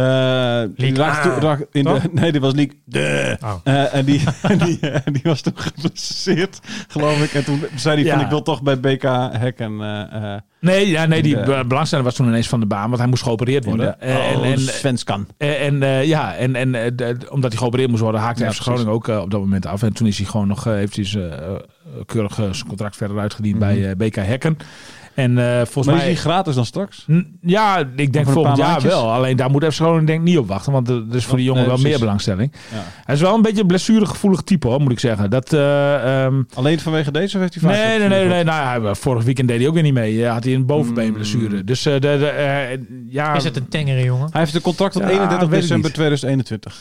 Speaker 2: Eh die
Speaker 4: Ligue
Speaker 2: lag toen-
Speaker 4: A,
Speaker 2: lag in de,
Speaker 4: toch?
Speaker 2: nee, dit was League. De.
Speaker 4: Oh.
Speaker 2: Eh, en die, en die, eh, die was toen geblesseerd, geloof ik. En toen zei hij van,
Speaker 3: Ja.
Speaker 2: ik wil toch bij BK Hek en... eh, eh,
Speaker 3: Nee, ja, nee die
Speaker 2: De-
Speaker 3: be- belangstellende was toen ineens van de baan, want hij moest geopereerd worden.
Speaker 2: in de-
Speaker 3: Eh,
Speaker 2: oh,
Speaker 3: en, en,
Speaker 2: Svenskan.
Speaker 3: Eh, En eh, ja, en, en eh, de- de- omdat hij geopereerd moest worden, haakte
Speaker 2: Ja,
Speaker 3: FC Groningen ook eh, op dat moment af. En toen is hij gewoon nog, eh, heeft hij zijn, eh, eh, keurig eh, zijn contract verder uitgediend bij eh, BK Hekken. En eh, volgens
Speaker 2: Mhm. Maar is
Speaker 3: mij...
Speaker 2: die gratis dan straks?
Speaker 3: N- Ja, ik denk
Speaker 2: een
Speaker 3: volgend
Speaker 2: paar
Speaker 3: jaar
Speaker 2: maandjes? Oh,
Speaker 3: wel. Alleen daar moet FC Groningen denk ik niet op wachten. Want er er is voor die jongen
Speaker 2: Nee,
Speaker 3: wel meer
Speaker 2: precies.
Speaker 3: belangstelling.
Speaker 2: Ja.
Speaker 3: Hij is wel een beetje een blessuregevoelig type hoor, moet ik zeggen. Dat, eh, ehm,
Speaker 2: Alleen vanwege deze of heeft hij vaak
Speaker 3: nee, nee, nee, nee. Nou, hij- vorig weekend deed hij ook weer niet mee. Ja, had hij een bovenbeenblessure.
Speaker 2: Hmm.
Speaker 3: Dus eh, de, de, eh, ja,
Speaker 4: Is het een tengere jongen?
Speaker 2: Hij heeft een contract tot
Speaker 3: Ja,
Speaker 2: 31
Speaker 3: weet ik
Speaker 2: december
Speaker 3: niet.
Speaker 2: 2021.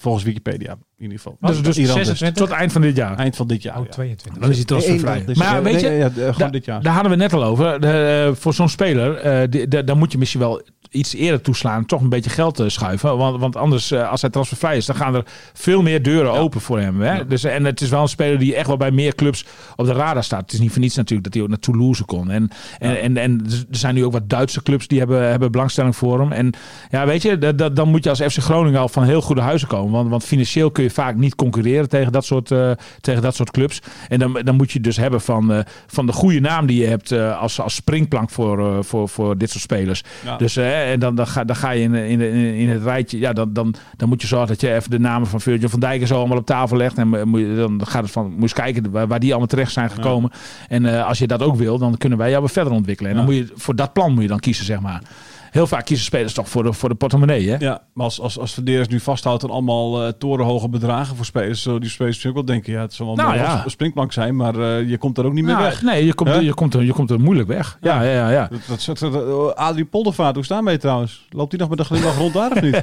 Speaker 2: Volgens Wikipedia, in ieder geval.
Speaker 3: dus, dus
Speaker 2: Iran
Speaker 3: 26 tot eind van dit jaar.
Speaker 2: Eind van dit jaar,
Speaker 4: Oh,
Speaker 2: ja.
Speaker 4: 22.
Speaker 3: Dan is hij transfervrij.
Speaker 2: Dus,
Speaker 3: Maar
Speaker 2: eh,
Speaker 3: weet je,
Speaker 2: nee, ja, ja,
Speaker 3: da-
Speaker 2: gewoon dit jaar.
Speaker 3: daar hadden we het net al over. De, eh, voor zo'n speler, eh, die- da- dan moet je misschien wel iets eerder toeslaan. Toch een beetje geld eh, schuiven. Want, want anders, eh, als hij transfervrij is, dan gaan er veel meer deuren open voor hem. Hè? Dus, en het is wel een speler die echt wel bij meer clubs op de radar staat. Het is niet voor niets natuurlijk dat hij ook naar Toulouse kon. En, en, en, en er zijn nu ook wat Duitse clubs die hebben, hebben belangstelling voor hem. En ja, weet je, dat, dat, dan moet je als FC Groningen al van heel goede huizen komen. Want, want financieel kun je vaak niet concurreren tegen dat soort, eh, tegen dat soort clubs. En dan, dan moet je dus hebben van, eh, van de goede naam die je hebt eh, als, als springplank voor, eh, voor, voor dit soort spelers.
Speaker 2: Ja.
Speaker 3: Dus eh, en dan, dan, ga, dan ga je in, in, in, in het rijtje. Ja, dan, dan, dan moet je zorgen dat je even de namen van Virgil van Dijk en zo allemaal op tafel legt. En eh, moet je- dan gaat het van, moet je eens kijken waar, waar die allemaal terecht zijn gekomen. En eh, als je dat ook wil, dan kunnen wij jou weer verder ontwikkelen. En dan moet je, voor dat plan moet je dan kiezen, zeg maar. Heel vaak kiezen spelers toch voor de, voor de portemonnee, hè?
Speaker 2: Ja, maar als, als, als Verdeers nu vasthoudt aan allemaal eh, torenhoge bedragen voor spelers, zullen die spelers natuurlijk wel denken, ja, het zal wel
Speaker 3: Nou,
Speaker 2: een
Speaker 3: ja.
Speaker 2: sp- springplank zijn, maar eh, je komt er ook niet meer
Speaker 3: Nou,
Speaker 2: weg.
Speaker 3: Nee, je komt,
Speaker 2: Hè?
Speaker 3: je, komt er, je komt er moeilijk weg. Ja, ja, ja. ja.
Speaker 2: Dat, dat, dat- dat- dat- Adrie Poldervaart, hoe staan wij trouwens? Loopt hij nog met een glimlach rond daar of niet?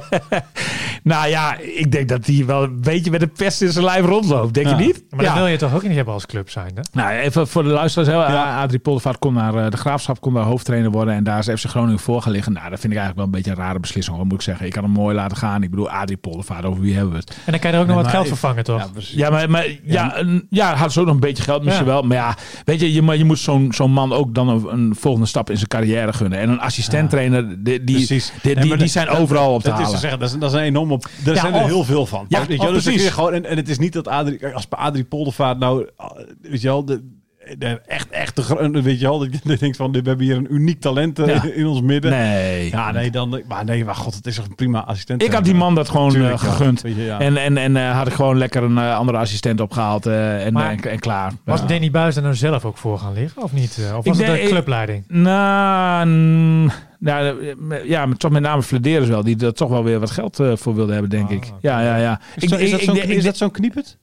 Speaker 3: Nou ja, ik denk dat hij wel een beetje met een pest in zijn lijf rondloopt. Denk
Speaker 2: Ja.
Speaker 3: je niet?
Speaker 4: Maar dat
Speaker 3: Ja.
Speaker 4: wil je toch ook niet hebben als club zijnde?
Speaker 3: Nou, even voor de luisteraars. Heel,
Speaker 2: Ja.
Speaker 3: Adrie Poldervaart kon naar eh, de Graafschap, kon daar hoofdtrainer worden. En daar is FC Groningen voor gaan liggen. Nou, dat vind ik eigenlijk wel een beetje een rare beslissing, hoor, moet ik zeggen. Ik had hem mooi laten gaan. Ik bedoel, Adrie Poldervaart, over wie hebben we het?
Speaker 4: En dan kan je er ook nog wat
Speaker 2: maar
Speaker 4: geld
Speaker 2: ik-
Speaker 4: vervangen, toch?
Speaker 2: Ja, precies.
Speaker 3: Ja, maar, maar ja, een- ja, had ze ook nog een beetje geld misschien
Speaker 4: Ja.
Speaker 3: wel. Maar ja, weet je, je, maar je moet zo'n zo'n man ook dan een, een volgende stap in zijn carrière gunnen. En een assistenttrainer, die, die, die,
Speaker 2: Precies.
Speaker 3: die,
Speaker 2: Ja, maar
Speaker 3: die
Speaker 2: dat-
Speaker 3: zijn overal op te
Speaker 2: Dat is dus te
Speaker 3: halen.
Speaker 2: zeggen, dat is, dat is een enorme... Daar
Speaker 3: Ja,
Speaker 2: zijn er
Speaker 3: of-
Speaker 2: heel veel van.
Speaker 3: Ja,
Speaker 2: weet je wel,
Speaker 3: of
Speaker 2: dus dan kun je
Speaker 3: precies.
Speaker 2: gewoon, en, en het is niet dat Adrie... kijk, Als Adrie Poldervaart nou... ah, Weet je wel, de, de- echt, echt de gro- Weet je wel, dat je denkt van... We hebben hier een uniek talent eh,
Speaker 3: Ja.
Speaker 2: in ons midden.
Speaker 3: Nee.
Speaker 2: Ja, nee, dan... Maar nee, maar god, het is toch een prima assistent.
Speaker 3: Ik had die man dat gewoon
Speaker 2: Tuurlijk,
Speaker 3: eh,
Speaker 2: ja.
Speaker 3: gegund.
Speaker 2: Weet je, ja.
Speaker 3: En, en, en eh, had ik gewoon lekker een eh, andere assistent opgehaald eh, en,
Speaker 4: Maar-
Speaker 3: en, en klaar.
Speaker 4: Was
Speaker 3: Ja.
Speaker 4: Danny Buis er nou zelf ook voor gaan liggen? Of niet? Eh, Of was
Speaker 3: denk-
Speaker 4: het de clubleiding?
Speaker 3: Nou, mm, nou, ja, maar toch met name Flederis wel. Die er toch wel weer wat geld eh, voor wilde hebben, denk
Speaker 4: Ah,
Speaker 3: ik.
Speaker 4: oké.
Speaker 3: Ja, ja, ja.
Speaker 2: Is, dat-
Speaker 3: Ik-
Speaker 2: is dat
Speaker 3: ik-
Speaker 2: zo'n-
Speaker 3: ik- ik-
Speaker 2: is dat zo'n kniepet?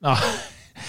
Speaker 3: Ah,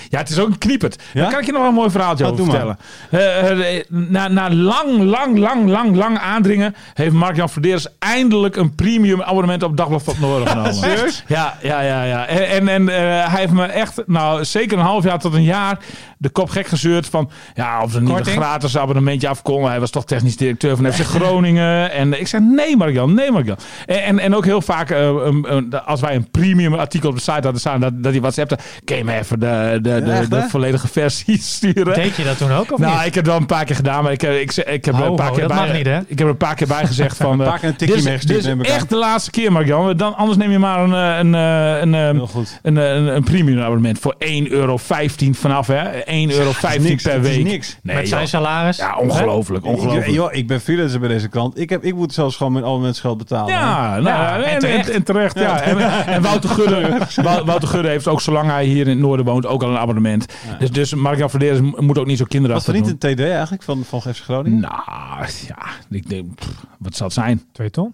Speaker 3: ja, het is ook een kniepert.
Speaker 2: Ja?
Speaker 3: Dan kan ik je nog wel een mooi verhaaltje
Speaker 2: Ah,
Speaker 3: over
Speaker 2: doe
Speaker 3: vertellen. Eh, eh, na, na lang, lang, lang, lang, lang aandringen... heeft Mark-Jan Verdeers eindelijk een premium abonnement op Dagblad van het Noorden genomen. Ja, ja, ja, ja. En, en, en eh, hij heeft me echt, nou zeker een half jaar tot een jaar, de kop gek gezeurd van, ja, of er niet een
Speaker 4: Korting?
Speaker 3: gratis abonnementje af kon. Hij was toch technisch directeur van FC Groningen. En eh, ik zei, nee Marjan, nee Marjan. En, en, en ook heel vaak, eh, een- een- als wij een premium artikel op de site hadden staan, dat, dat die WhatsAppte, kun je me even de, de, de,
Speaker 2: echt,
Speaker 3: de
Speaker 2: hè?
Speaker 3: volledige versie sturen?
Speaker 4: Deed je dat toen ook, of
Speaker 3: nou,
Speaker 4: niet?
Speaker 3: ik heb dat een paar keer gedaan, maar ik heb, ik, ik heb er
Speaker 2: Oh,
Speaker 4: Ho,
Speaker 3: een paar
Speaker 4: ho,
Speaker 3: keer
Speaker 4: dat
Speaker 3: bij,
Speaker 4: mag niet, hè?
Speaker 3: Ik heb er een paar keer bij gezegd van, eh,
Speaker 2: Vaak een tikje
Speaker 3: dit is,
Speaker 2: meegestuurd,
Speaker 3: dit is
Speaker 2: neem ik aan.
Speaker 3: echt de laatste keer, Marjan. Dan, anders neem je maar een, eh, een, eh, een, ehm,
Speaker 2: Heel goed.
Speaker 3: een, een, een premium abonnement voor 1,15 euro vanaf, hè? 1,15 euro
Speaker 2: niks,
Speaker 3: per
Speaker 2: het is
Speaker 3: week.
Speaker 2: niks.
Speaker 3: Nee,
Speaker 4: Met zijn
Speaker 3: joh.
Speaker 4: salaris?
Speaker 3: Ja, ongelooflijk,
Speaker 2: Ik,
Speaker 3: ongelooflijk.
Speaker 2: joh, ik ben freelancer bij deze kant. Ik, heb, ik moet zelfs gewoon mijn abonnementsgeld betalen.
Speaker 3: Ja, nou,
Speaker 4: Ja,
Speaker 3: en,
Speaker 4: en
Speaker 3: en terecht.
Speaker 4: terecht.
Speaker 3: En, terecht, ja. En, en Wouter, Gudde, Wou- Wouter Gudde heeft ook, zolang hij hier in het noorden woont, ook al een abonnement. Dus, dus Mark-Jan Verderes moet ook niet zo
Speaker 2: Was
Speaker 3: kinderachtig
Speaker 2: er niet
Speaker 3: doen.
Speaker 2: een TD eigenlijk van, van FC Groningen?
Speaker 3: Nou, ja, ik denk, pff, wat zal het zijn?
Speaker 4: Twee ton?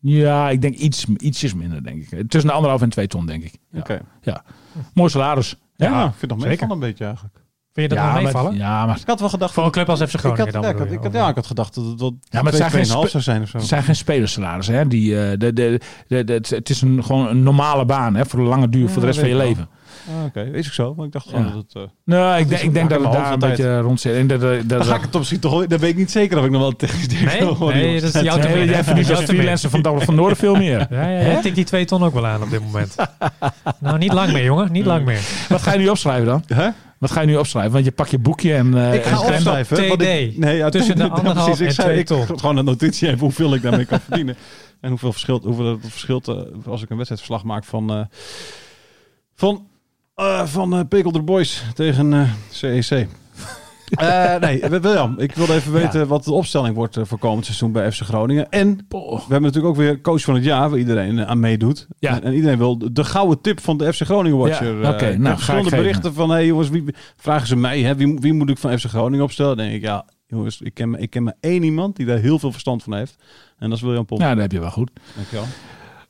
Speaker 3: Ja, ik denk iets, ietsjes minder, denk ik. Tussen de anderhalf en twee ton, denk ik. Ja.
Speaker 2: Oké.
Speaker 3: Ja. Mooi salaris. Ja,
Speaker 2: Ja, ik vind het nog
Speaker 4: zeker.
Speaker 2: meevallen een beetje eigenlijk.
Speaker 4: Vind je dat nog
Speaker 3: maar-
Speaker 4: meevallen?
Speaker 3: ja, maar
Speaker 2: Ik had wel gedacht...
Speaker 4: Voor een club als FC Groningen
Speaker 2: ik
Speaker 4: dan
Speaker 2: had, ja, ik
Speaker 4: bedoel
Speaker 2: had,
Speaker 4: je,
Speaker 2: ik had-
Speaker 4: of-
Speaker 2: ja, ik had gedacht dat dat
Speaker 3: Ja, maar het zijn geen
Speaker 2: 2,5
Speaker 3: spe-
Speaker 2: zou zijn of zo.
Speaker 3: het zijn geen spelersalarissen. Hè? Die, eh, de, de, de, de- het- het is een, gewoon een normale baan hè? voor de lange duur,
Speaker 2: Ja,
Speaker 3: voor de rest
Speaker 2: dat
Speaker 3: van je
Speaker 2: weet ik
Speaker 3: leven.
Speaker 2: Ah, Oké, is ik zo. Maar ik dacht gewoon
Speaker 3: Ja.
Speaker 2: dat het... eh,
Speaker 3: Nou, ik,
Speaker 2: is
Speaker 3: denk- ik
Speaker 2: een
Speaker 3: denk dat
Speaker 2: makkelijke
Speaker 3: het daar een
Speaker 2: hoofdtijd.
Speaker 3: beetje rond zit. En dat, dat, dat,
Speaker 2: dan ga ik het op zich toch... Dan weet ik niet zeker of ik nog wel technisch directeur
Speaker 4: Nee,
Speaker 2: word,
Speaker 4: nee
Speaker 2: jongens.
Speaker 4: dat is jouw
Speaker 3: Nee,
Speaker 4: termijn.
Speaker 3: jij verdient als freelancer van Double van Noorden veel meer.
Speaker 4: Ja, ja, ja. Tik die twee ton ook wel aan op dit moment. nou, niet lang meer, jongen. Niet lang meer.
Speaker 3: Wat ga je nu opschrijven dan?
Speaker 2: Hè?
Speaker 3: Wat ga je nu opschrijven? Want je pakt je boekje en... eh,
Speaker 2: Ik
Speaker 3: en-
Speaker 2: ga opschrijven.
Speaker 4: TD.
Speaker 2: want ik- nee, ja,
Speaker 4: Tussen de
Speaker 2: ja, precies.
Speaker 4: anderhalf en
Speaker 2: ik zei,
Speaker 4: twee
Speaker 2: ik,
Speaker 4: ton.
Speaker 2: Gewoon een notitie even hoeveel ik daarmee kan verdienen. En hoeveel verschilt, hoeveel het verschilt eh, als ik een wedstrijdverslag maak van, eh, van, eh van eh Pekel de Boys tegen eh, CEC. Eh, nee, Wil- William, ik wilde even weten wat de opstelling wordt eh, voor komend seizoen bij FC Groningen. En
Speaker 3: Boah.
Speaker 2: we hebben natuurlijk ook weer coach van het jaar, waar iedereen eh, aan meedoet.
Speaker 3: Ja.
Speaker 2: En, en iedereen wil de, de gouden tip van de FC Groningen Watcher.
Speaker 3: Ja,
Speaker 2: eh,
Speaker 3: oké,
Speaker 2: ik heb
Speaker 3: nou, ga ik
Speaker 2: verschillende
Speaker 3: geven.
Speaker 2: berichten van, hey jongens, wie, vragen ze mij, hè, wie, wie moet ik van FC Groningen opstellen? Dan denk ik, ja, jongens, ik ken, maar- ik ken maar één iemand die daar heel veel verstand van heeft. En dat is William Pomp.
Speaker 3: Nou, dat heb je wel goed.
Speaker 2: Dankjewel.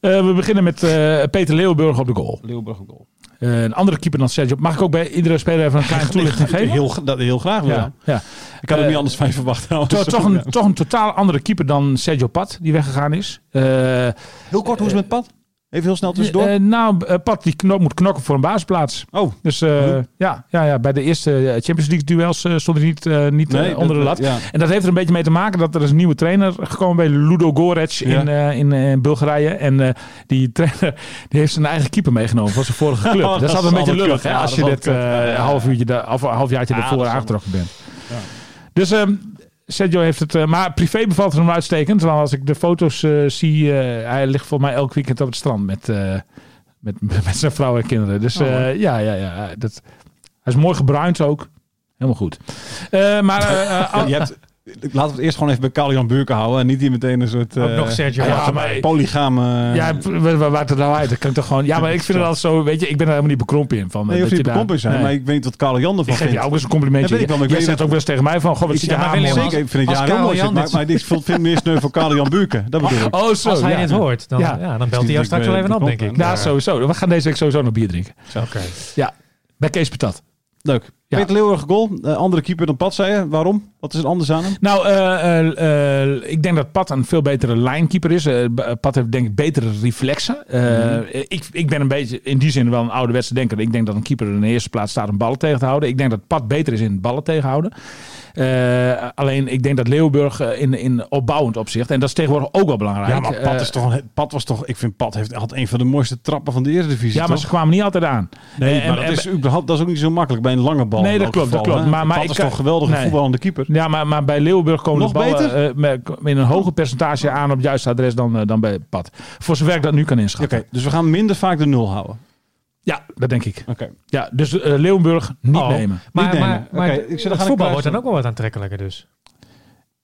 Speaker 3: Eh, we beginnen met eh, Peter Leeuwburg op de goal.
Speaker 2: Leeuwburg een goal.
Speaker 3: Eh, een andere keeper dan Sergio. Mag ik ook bij iedere speler even een kleine toelichting geven?
Speaker 2: Heel, Dus gra- dat, heel graag,
Speaker 3: ja,
Speaker 2: William.
Speaker 3: ja.
Speaker 2: Ik had er
Speaker 3: Eh,
Speaker 2: niet anders van je verwacht trouwens.
Speaker 3: Toch, toch, een, toch een totaal andere keeper dan Sergio Pat, die weggegaan is. Eh,
Speaker 2: Heel kort, hoe is het met Pat? Even heel snel tussendoor.
Speaker 3: eh, nou, eh, Pat die kno- moet knokken voor een baasplaats.
Speaker 2: oh,
Speaker 3: Dus eh, ja, ja, ja, bij de eerste eh, Champions League duels eh, stond hij niet, eh, niet eh,
Speaker 2: Nee,
Speaker 3: onder de lat.
Speaker 2: dat- ja.
Speaker 3: En dat heeft er een beetje mee te maken dat er is een nieuwe trainer gekomen bij Ludo Gorec in, eh, in, eh, Bulgarije. En eh, die trainer die heeft zijn eigen keeper meegenomen van zijn vorige club.
Speaker 2: Oh,
Speaker 3: dat is
Speaker 2: dat
Speaker 3: altijd een
Speaker 2: is
Speaker 3: beetje
Speaker 2: allemaal
Speaker 3: lullig
Speaker 2: kut.
Speaker 3: hè,
Speaker 2: Ja,
Speaker 3: als je
Speaker 2: dat is
Speaker 3: dit
Speaker 2: allemaal kut.
Speaker 3: eh,
Speaker 2: Ja, ja,
Speaker 3: half uurtje daar- of een half jaartje
Speaker 2: Ja, dat
Speaker 3: ervoor
Speaker 2: is
Speaker 3: aangetrokken bent. Dus ehm, Sergio heeft het, eh, maar privé bevalt het hem uitstekend. Want als ik de foto's eh, zie, eh, hij ligt voor mij elk weekend op het strand met, eh, met, met zijn vrouw en kinderen. Dus
Speaker 2: Oh,
Speaker 3: eh,
Speaker 2: mooi.
Speaker 3: ja, ja, ja. Dat, hij is mooi gebruind ook. Helemaal goed. Eh, maar eh, eh,
Speaker 2: ja, je hebt, laten we het eerst gewoon even bij Karl-Jan Buurken houden. En niet hier meteen een soort
Speaker 4: Ook
Speaker 2: eh,
Speaker 4: nog Sergio.
Speaker 3: ja,
Speaker 4: Achter
Speaker 3: maar-
Speaker 4: mij.
Speaker 2: polygame... eh,
Speaker 3: Ja, p- waar waar- waar het er nou uit? Dat kan ik toch gewoon. Ja, maar ik vind het altijd zo. Weet je, ik ben er helemaal niet bekrompen in. Van, eh,
Speaker 2: Nee, je hoeft
Speaker 3: dat
Speaker 2: niet
Speaker 3: daar-
Speaker 2: bekrompen te zijn,
Speaker 3: Nee.
Speaker 2: maar ik weet niet wat Karel Jan ervan
Speaker 3: ik geef
Speaker 2: vindt.
Speaker 3: jou ook eens een complimentje.
Speaker 2: Dat weet ik wel, maar ik
Speaker 3: Jij
Speaker 2: weet
Speaker 3: zegt
Speaker 2: dat-
Speaker 3: ook wel eens tegen mij van, goh, wat
Speaker 2: Ik
Speaker 3: zit je
Speaker 2: zeg
Speaker 3: haar
Speaker 4: maar Willem,
Speaker 3: mooi.
Speaker 2: Zeker, ik vind het
Speaker 4: Als
Speaker 2: jaar
Speaker 4: Karel
Speaker 2: rommelig,
Speaker 4: Jan
Speaker 2: maar,
Speaker 4: dit-
Speaker 2: maar dit voelt- vind ik meer sneu voor Karel Jan Buurken. Dat bedoel ik.
Speaker 3: Oh, zo.
Speaker 4: Als hij
Speaker 3: ja.
Speaker 4: dit hoort, dan,
Speaker 3: Ja. Nou,
Speaker 4: ja. dan belt hij jou straks wel even op, denk ik.
Speaker 3: Ja, sowieso. We gaan deze week sowieso nog bier drinken.
Speaker 4: Oké.
Speaker 3: Ja, bij Kees Patat.
Speaker 2: Leuk.
Speaker 3: Ja.
Speaker 2: Peter Leeuwenhoek goal. Eh, andere keeper dan Pat, zei je. Waarom? Wat is het anders aan hem?
Speaker 3: Nou, eh, eh, eh, ik denk dat Pat een veel betere linekeeper is. Eh, B- Pat heeft denk ik betere reflexen. Eh,
Speaker 2: Mhm.
Speaker 3: ik, ik ben een beetje in die zin wel een ouderwetse denker. Ik denk dat een keeper in de eerste plaats staat om ballen tegen te houden. Ik denk dat Pat beter is in ballen tegenhouden. Eh, alleen ik denk dat Leeuwburg eh, in, in opbouwend opzicht, en dat is tegenwoordig ook wel belangrijk.
Speaker 2: Ja, maar Pat,
Speaker 3: eh,
Speaker 2: is toch een, Pat was toch... Ik vind Pat heeft, had een van de mooiste trappen van de Eredivisie,
Speaker 3: ja, maar ze
Speaker 2: toch?
Speaker 3: kwamen niet altijd aan.
Speaker 2: Nee,
Speaker 3: En-
Speaker 2: maar
Speaker 3: en-
Speaker 2: dat, is, überhaupt- dat is ook niet zo makkelijk bij een lange bal.
Speaker 3: Nee,
Speaker 2: in
Speaker 3: dat
Speaker 2: elk
Speaker 3: klopt, dat
Speaker 2: geval,
Speaker 3: klopt.
Speaker 2: hè?
Speaker 3: Maar- maar
Speaker 2: Pat
Speaker 3: ik
Speaker 2: is
Speaker 3: kan-
Speaker 2: toch een geweldige
Speaker 3: Nee.
Speaker 2: voetballende keeper.
Speaker 3: Ja, maar, maar bij Leeuwburg komen
Speaker 2: Nog
Speaker 3: de ballen
Speaker 2: beter?
Speaker 3: eh, met- in een hoger percentage aan op het juiste adres dan, eh, dan bij Pat. Voor zover ik dat nu kan
Speaker 2: Oké,
Speaker 3: inschatten.
Speaker 2: dus we gaan minder vaak de nul houden.
Speaker 3: Ja, dat denk ik.
Speaker 2: Oké.
Speaker 3: Ja, dus eh, Leeuwenburg niet
Speaker 4: Oh.
Speaker 3: nemen.
Speaker 4: Maar,
Speaker 2: nemen.
Speaker 4: maar, maar
Speaker 2: Oké,
Speaker 4: het-
Speaker 2: ik zit er
Speaker 4: het
Speaker 2: gaan
Speaker 4: voetbal
Speaker 2: kruisen.
Speaker 4: wordt dan ook wel wat aantrekkelijker dus.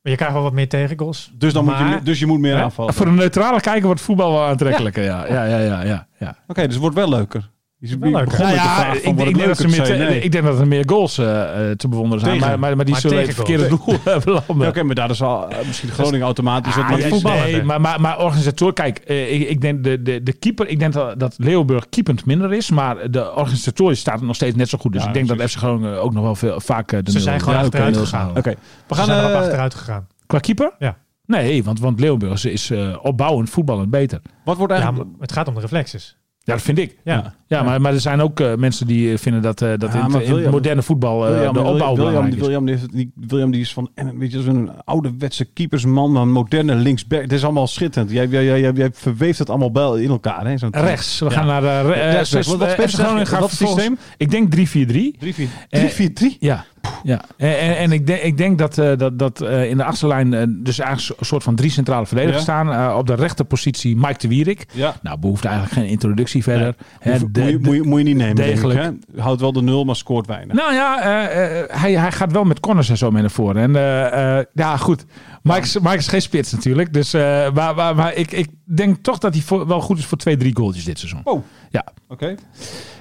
Speaker 4: Maar Je krijgt wel wat meer tegengoals.
Speaker 2: Dus, dan moet je,
Speaker 4: Maar-
Speaker 2: meer- dus je moet meer
Speaker 4: Hè?
Speaker 2: aanvallen.
Speaker 3: Voor een neutrale kijker wordt voetbal wel aantrekkelijker. Ja, ja, ja, ja. ja, ja.
Speaker 2: Oké, dus het wordt wel leuker. Je
Speaker 4: Wel leuker.
Speaker 2: begon
Speaker 3: Nou
Speaker 2: met de
Speaker 3: ja,
Speaker 2: vraag
Speaker 3: ik,
Speaker 2: van,
Speaker 3: ik
Speaker 2: wordt
Speaker 3: denk
Speaker 2: het
Speaker 3: dat ze
Speaker 2: leuker?
Speaker 3: meer
Speaker 2: Ik zei
Speaker 3: te-
Speaker 2: nee.
Speaker 3: ik denk dat er meer goals eh, eh, te bewonderen zijn.
Speaker 2: Tegen.
Speaker 3: Maar, maar, maar die
Speaker 4: Maar
Speaker 3: zullen het
Speaker 4: tegen
Speaker 3: verkeerde doel hebben landen.
Speaker 2: Ja, Oké, maar daar is al eh, misschien Groningen automatisch wat
Speaker 3: Ah,
Speaker 2: meer
Speaker 3: nee,
Speaker 2: voetbal.
Speaker 4: voetballen.
Speaker 3: nee, maar, maar, maar organisator, kijk, eh, ik, ik denk de, de, de keeper, ik denk dat, dat Leeuwburg keepend minder is, maar de organisatorisch staat het nog steeds net zo goed. Dus
Speaker 2: Ja,
Speaker 3: ik denk dat
Speaker 2: precies.
Speaker 3: FC Groningen ook nog wel veel, vaak eh, de
Speaker 4: Ze
Speaker 3: nul-
Speaker 4: zijn gewoon
Speaker 3: ja,
Speaker 4: achteruit
Speaker 3: oké, nul
Speaker 4: gegaan.
Speaker 3: halen.
Speaker 2: Oké, we
Speaker 4: We
Speaker 2: gaan.
Speaker 4: zijn
Speaker 2: eh,
Speaker 4: er wat achteruit gegaan.
Speaker 3: Qua keeper?
Speaker 4: Ja.
Speaker 3: Nee, want, want Leeuwburg is eh, opbouwend voetballend beter.
Speaker 2: wat wordt
Speaker 4: Ja,
Speaker 2: eigenlijk.
Speaker 4: maar het gaat om de reflexes.
Speaker 3: Ja, dat vind ik.
Speaker 4: Ja.
Speaker 3: Ja, maar, maar er zijn ook eh, mensen die eh, vinden dat, eh, dat
Speaker 2: Ja,
Speaker 3: in, het-
Speaker 2: maar
Speaker 3: in het
Speaker 2: William-
Speaker 3: moderne voetbal eh,
Speaker 2: William,
Speaker 3: de opbouw
Speaker 2: William,
Speaker 3: belangrijk
Speaker 2: William,
Speaker 3: is.
Speaker 2: William, die heeft, die, William die is van, en weet je, zo'n ouderwetse keepersman, maar een moderne linksback. Het is allemaal schitterend. Jij, jij, jij, jij, jij verweeft het allemaal bij in elkaar. Hè, zo'n
Speaker 3: Rechts, we gaan naar de re- eh,
Speaker 2: Ja, rechts, rechts. Wat- wat
Speaker 3: eh,
Speaker 2: speelt
Speaker 3: FC Groningen
Speaker 2: zeg je?
Speaker 3: gaat
Speaker 2: Wat is het
Speaker 3: vervolgens- Ik denk 3-4-3.
Speaker 2: 3-4-3.
Speaker 3: Eh, Ja, ja. En, en, en ik, denk, ik denk dat, eh, dat, dat eh, in de achterlijn eh, dus eigenlijk een soort van drie centrale verdedigers
Speaker 2: Ja.
Speaker 3: staan. Eh, op de rechterpositie Mike de Wierik.
Speaker 2: Ja,
Speaker 3: Nou, behoeft eigenlijk geen introductie verder. Hè,
Speaker 2: Hoef-
Speaker 3: Eh, de-
Speaker 2: moet, je,
Speaker 3: de-
Speaker 2: moet, je, moet je niet nemen. denk ik,
Speaker 3: degelijk.
Speaker 2: hè. Houdt wel de nul, maar scoort weinig.
Speaker 3: nou ja, eh, eh, hij, hij gaat wel met corners en zo mee naar voren. En eh, eh, ja, goed. Mike is, Mike is geen spits natuurlijk. Dus, eh, maar maar, maar ik, ik denk toch dat hij voor, wel goed is voor twee, drie goaltjes dit seizoen.
Speaker 2: Oh.
Speaker 3: Ja.
Speaker 2: Oké.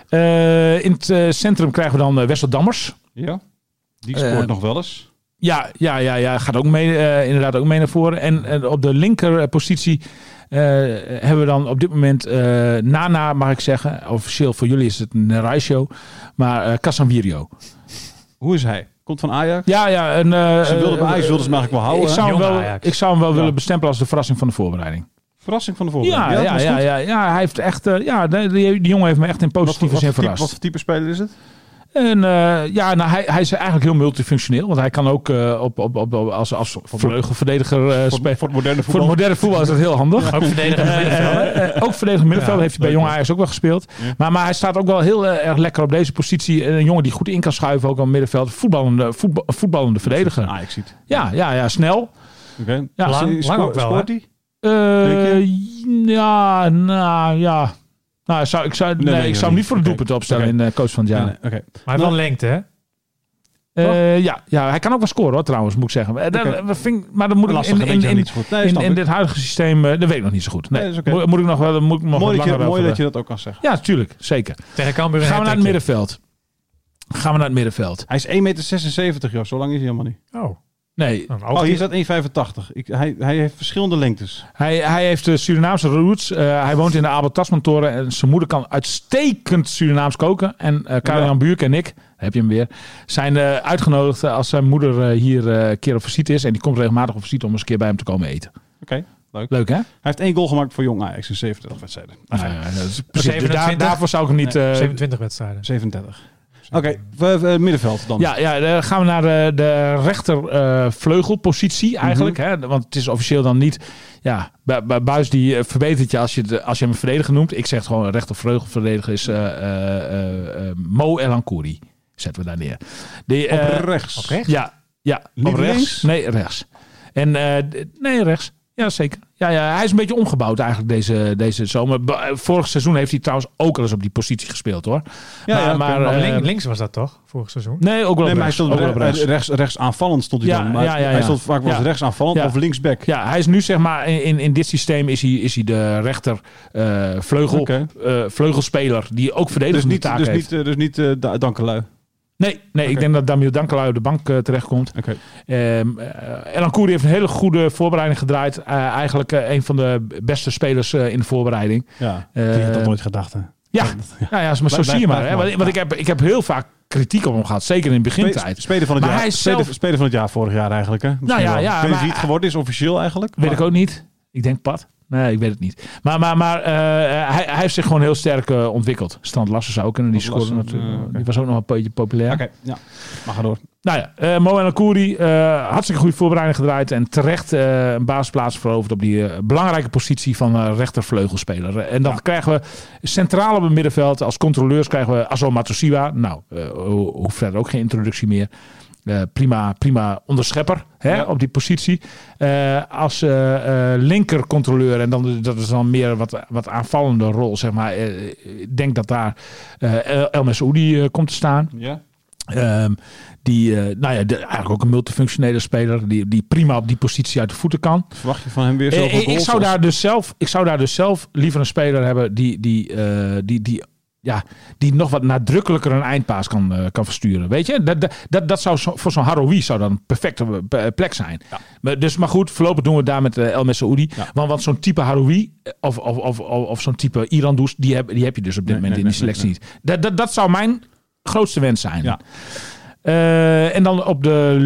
Speaker 3: Eh, in het eh, centrum krijgen we dan eh, Wessel Dammers.
Speaker 2: Ja. Die
Speaker 3: Eh,
Speaker 2: scoort nog wel eens.
Speaker 3: Ja, ja, ja, ja. Gaat ook mee, eh, inderdaad ook mee naar voren. En eh, op de linkerpositie eh, hebben we dan op dit moment eh, Nana, mag ik zeggen. Officieel voor jullie is het een Raisho. Maar eh Casemiro.
Speaker 2: Hoe is hij? Komt van Ajax?
Speaker 3: Ja, ja. Een, eh,
Speaker 2: Ze wilden bij
Speaker 3: eh,
Speaker 2: Ajax wilden ze hem eigenlijk wel houden.
Speaker 3: ik,
Speaker 2: hè?
Speaker 3: zou hem
Speaker 4: Jong
Speaker 3: wel,
Speaker 4: Ajax.
Speaker 3: ik zou hem wel
Speaker 2: Ja.
Speaker 3: willen bestempelen als de verrassing van de voorbereiding.
Speaker 2: Verrassing van de
Speaker 3: Ja,
Speaker 2: voorbereiding.
Speaker 3: ja,
Speaker 2: dat
Speaker 3: ja,
Speaker 2: was
Speaker 3: ja,
Speaker 2: goed.
Speaker 3: ja, Hij heeft echt, eh, ja, die, die jongen heeft me echt in
Speaker 2: Wat, voor-
Speaker 3: positieve
Speaker 2: wat,
Speaker 3: zin
Speaker 2: voor type,
Speaker 3: verrast.
Speaker 2: wat voor type speler is het?
Speaker 3: En eh, ja, nou, hij, hij is eigenlijk heel multifunctioneel. Want hij kan ook eh, op, op, op, op- als, als vleugelverdediger eh
Speaker 2: Voor,
Speaker 3: spelen.
Speaker 2: voor het moderne
Speaker 3: Voor het
Speaker 2: voetbal.
Speaker 3: moderne voetbal is dat heel handig. Eh, Ook verdedigend middenvelder. Ook verdedigend middenvelder
Speaker 4: Ja,
Speaker 3: heeft hij bij Jong Ajax ook wel gespeeld.
Speaker 2: Ja.
Speaker 3: Maar, maar hij staat ook wel heel eh, erg lekker op deze positie. En Een jongen die goed in kan schuiven, ook aan het middenveld. Voetballende, voetba- voetballende verdediger.
Speaker 2: Ajax ziet.
Speaker 3: Ja, ja, ja, snel.
Speaker 2: Oké.
Speaker 3: Ja,
Speaker 2: Als hij
Speaker 4: lang-
Speaker 2: scoort-
Speaker 4: lang ook wel,
Speaker 2: Scoort
Speaker 4: hè?
Speaker 2: hij?
Speaker 3: Eh,
Speaker 2: Denk
Speaker 3: ja, nou ja. Nou, zou, ik, zou, nee,
Speaker 2: nee,
Speaker 3: ik zou
Speaker 2: nee,
Speaker 3: hem niet voor de
Speaker 2: oké.
Speaker 3: doelpunt opstellen
Speaker 2: Oké.
Speaker 3: in eh, coach van het jaar.
Speaker 2: Nee, nee, Oké.
Speaker 4: Maar wel lengte, hè?
Speaker 3: Eh, ja, ja, hij kan ook wel scoren hoor, trouwens, moet ik zeggen. Eh, dat-
Speaker 2: Oké.
Speaker 3: dat vind ik- maar dat moet ik
Speaker 2: Lastig,
Speaker 3: in,
Speaker 2: dat
Speaker 3: in,
Speaker 2: weet je
Speaker 3: in,
Speaker 2: niet zo goed. Nee,
Speaker 3: in,
Speaker 2: snap
Speaker 3: in
Speaker 2: ik.
Speaker 3: dit huidige systeem, eh, dat weet ik nog niet zo goed. Nee,
Speaker 2: Nee, dat is oké.
Speaker 3: moet, moet ik nog wel moet ik nog
Speaker 2: Mooi,
Speaker 3: wat
Speaker 2: dat je,
Speaker 3: langer
Speaker 2: mooi
Speaker 3: over,
Speaker 2: dat je dat ook kan zeggen.
Speaker 3: Ja, tuurlijk, zeker.
Speaker 4: Tegen Cambuur een
Speaker 3: Gaan we naar het
Speaker 4: hattrickje.
Speaker 3: middenveld. Gaan we naar het middenveld.
Speaker 2: Hij is 1,76 meter, joh. Zo lang is hij helemaal niet.
Speaker 4: Oh,
Speaker 3: Nee,
Speaker 4: een
Speaker 2: Oh,
Speaker 4: hoog-
Speaker 2: hier staat 1,85. Ik- Hij, hij heeft verschillende lengtes.
Speaker 3: hij, hij heeft eh, Surinaamse roots. Eh, hij woont in de Abel Tasman-toren. En zijn moeder kan uitstekend Surinaams koken. En eh Karel-Jan Buurk en ik, daar heb je hem weer, zijn eh, uitgenodigd eh, als zijn moeder eh, hier eh, een keer op visite is. En die komt regelmatig op visite om eens een keer bij hem te komen eten.
Speaker 2: Oké, leuk.
Speaker 3: Leuk hè?
Speaker 2: Hij heeft één goal gemaakt voor Jong Ajax in 70 wedstrijden.
Speaker 3: Nou ja, dat is precies.
Speaker 4: 27.
Speaker 3: Dus daar- daarvoor zou ik hem niet... eh,
Speaker 4: 27 wedstrijden.
Speaker 2: 37. Oké, we- we- middenveld dan.
Speaker 3: ja, ja, dan gaan we naar de, de rechter eh, vleugelpositie
Speaker 2: Mhm.
Speaker 3: eigenlijk. hè? Want het is officieel dan niet... Ja, Bu- Bu- Buis die eh, verbetert je als je, de- als je hem een verdediger noemt. Ik zeg gewoon rechter vleugelverdediger is eh eh eh eh Mo Elankouri. Zetten we daar neer. Die,
Speaker 2: Op
Speaker 3: eh,
Speaker 2: rechts.
Speaker 4: Oprecht?
Speaker 3: ja, ja.
Speaker 2: Niet
Speaker 3: Op
Speaker 2: links?
Speaker 3: Nee, rechts. En eh, d- nee, rechts. Ja, zeker. Ja, ja, hij is een beetje omgebouwd eigenlijk deze, deze zomer. Ba- eh, Vorig seizoen heeft hij trouwens ook al eens op die positie gespeeld hoor.
Speaker 2: Ja, ja,
Speaker 3: maar,
Speaker 2: oké.
Speaker 3: maar,
Speaker 4: Maar
Speaker 3: eh,
Speaker 4: link- links was dat toch, vorig seizoen?
Speaker 3: Nee, ook wel
Speaker 2: Nee,
Speaker 3: op
Speaker 2: maar hij
Speaker 3: rechts.
Speaker 2: stond eh,
Speaker 3: Ook wel op
Speaker 2: re-
Speaker 3: rechts.
Speaker 2: rechts, rechts, aanvallend stond hij
Speaker 3: Ja,
Speaker 2: dan. Maar
Speaker 3: ja, ja,
Speaker 2: hij
Speaker 3: ja.
Speaker 2: stond vaak wel eens
Speaker 3: Ja.
Speaker 2: rechts aanvallend
Speaker 3: Ja.
Speaker 2: of linksback.
Speaker 3: Ja, hij is nu zeg maar in- in, in dit systeem is hij, is hij de rechter eh, vleugel,
Speaker 2: Oké.
Speaker 3: eh, vleugelspeler die ook
Speaker 2: Dus
Speaker 3: verdedigende
Speaker 2: niet,
Speaker 3: taak
Speaker 2: dus
Speaker 3: heeft.
Speaker 2: niet, eh, dus niet eh, da- Dankelui. Oké.
Speaker 3: Nee, nee ik
Speaker 2: Oké.
Speaker 3: denk dat Damiel Dankelui op de bank eh, terechtkomt. Ehm eh, Elan Koeri heeft een hele goede voorbereiding gedraaid. Eh, eigenlijk eh, een van de beste spelers eh, in de voorbereiding.
Speaker 2: Ja.
Speaker 3: Eh,
Speaker 2: die had dat nooit gedacht, hè?
Speaker 3: Ja, ja, ja maar zo
Speaker 2: Blijf-
Speaker 3: zie je
Speaker 2: blijf-
Speaker 3: maar. Hè?
Speaker 2: blijf
Speaker 3: Want,
Speaker 2: maar.
Speaker 3: want ik, heb, ik heb heel vaak kritiek op hem gehad. Zeker in de begintijd.
Speaker 2: Spe- Speler van het
Speaker 3: Maar
Speaker 2: jaar.
Speaker 3: hij is
Speaker 2: speler,
Speaker 3: zelf- Nou
Speaker 2: speler van het jaar vorig jaar eigenlijk, hè? Misschien
Speaker 3: ja,
Speaker 2: wel.
Speaker 3: ja,
Speaker 2: Ik weet niet
Speaker 3: maar-
Speaker 2: wie het geworden is officieel eigenlijk.
Speaker 3: Weet
Speaker 2: maar-
Speaker 3: ik ook niet. Ik denk Pat. Nee, ik weet het niet. Maar, maar, maar eh, hij, hij heeft zich gewoon heel sterk eh, ontwikkeld. Strand Lassen zou ook kunnen. Die
Speaker 2: Strand
Speaker 3: scoorde
Speaker 2: Larsen,
Speaker 3: natuurlijk.
Speaker 2: eh, oké.
Speaker 3: Die was ook nog een beetje populair.
Speaker 2: Oké, ja. Maar ga door.
Speaker 3: Nou ja, eh Mo en Koeri eh hartstikke goede voorbereiding gedraaid. En terecht eh, een basisplaats veroverd op die eh, belangrijke positie van eh, rechtervleugelspeler. En dan krijgen we centraal op het middenveld als controleurs krijgen we Azo Matosiwa. Nou, eh, ho- hoeft verder ook geen introductie meer. Eh, prima, prima onderschepper hè,
Speaker 2: Ja.
Speaker 3: op die positie. Eh, als eh, eh, linkercontroleur, en dan, dat is dan meer wat, wat aanvallende rol, zeg maar. Eh, ik denk dat daar eh El- El Messoudi eh, komt te staan.
Speaker 2: Ja.
Speaker 3: Ehm, die, eh, nou ja, de- eigenlijk ook een multifunctionele speler. Die, die prima op die positie uit de voeten kan.
Speaker 2: Verwacht je van hem weer zoveel
Speaker 3: Eh, ik, ik
Speaker 2: goals
Speaker 3: zou
Speaker 2: als-
Speaker 3: daar dus zelf, ik zou daar dus zelf liever een speler hebben die, die, eh, die, die, ja, die nog wat nadrukkelijker een eindpaas kan, eh, kan versturen. Weet je, dat, dat- dat, dat zou zo- voor zo'n Haroui zou dan een perfecte eh, plek zijn. Maar, dus, maar goed, voorlopig doen we het daar met eh, El Messaoudi.
Speaker 2: Ja.
Speaker 3: Want, want zo'n type Haroui eh, of, of, of, of, of zo'n type Irandous, die heb, die heb je dus op dit
Speaker 2: Nee,
Speaker 3: moment
Speaker 2: nee,
Speaker 3: in die
Speaker 2: nee,
Speaker 3: selectie niet. Dat, dat, dat zou mijn grootste wens zijn.
Speaker 2: Ja.
Speaker 3: Eh, en dan op de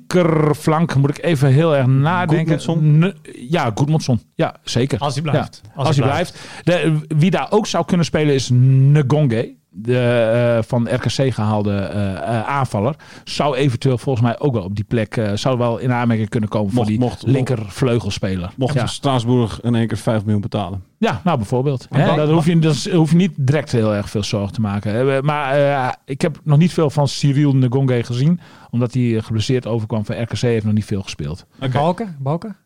Speaker 3: linkerflank moet ik even heel erg nadenken.
Speaker 2: Goedmundsson?
Speaker 3: N- Ja, Goedmondson. Ja, zeker.
Speaker 4: Als hij blijft.
Speaker 3: Ja, als, hij blijft. De- wie daar ook zou kunnen spelen is Ngonge. De eh, van RKC gehaalde eh, eh, aanvaller. Zou eventueel volgens mij ook wel op die plek. eh, zou wel in aanmerking kunnen komen voor
Speaker 2: Mocht-
Speaker 3: die
Speaker 2: mocht-
Speaker 3: linkervleugelspeler.
Speaker 2: Mocht dus-
Speaker 3: ja.
Speaker 2: Straatsburg in één keer 5 miljoen betalen.
Speaker 3: Ja, nou bijvoorbeeld. Hè,
Speaker 2: dan-
Speaker 3: daar hoef je, daar hoef je niet direct heel erg veel zorgen te maken. Eh, Maar eh, ik heb nog niet veel van Cyril Ngonge gezien. Omdat hij eh, geblesseerd overkwam van RKC. heeft nog niet veel gespeeld.
Speaker 2: Oké.
Speaker 4: Balken? Balken?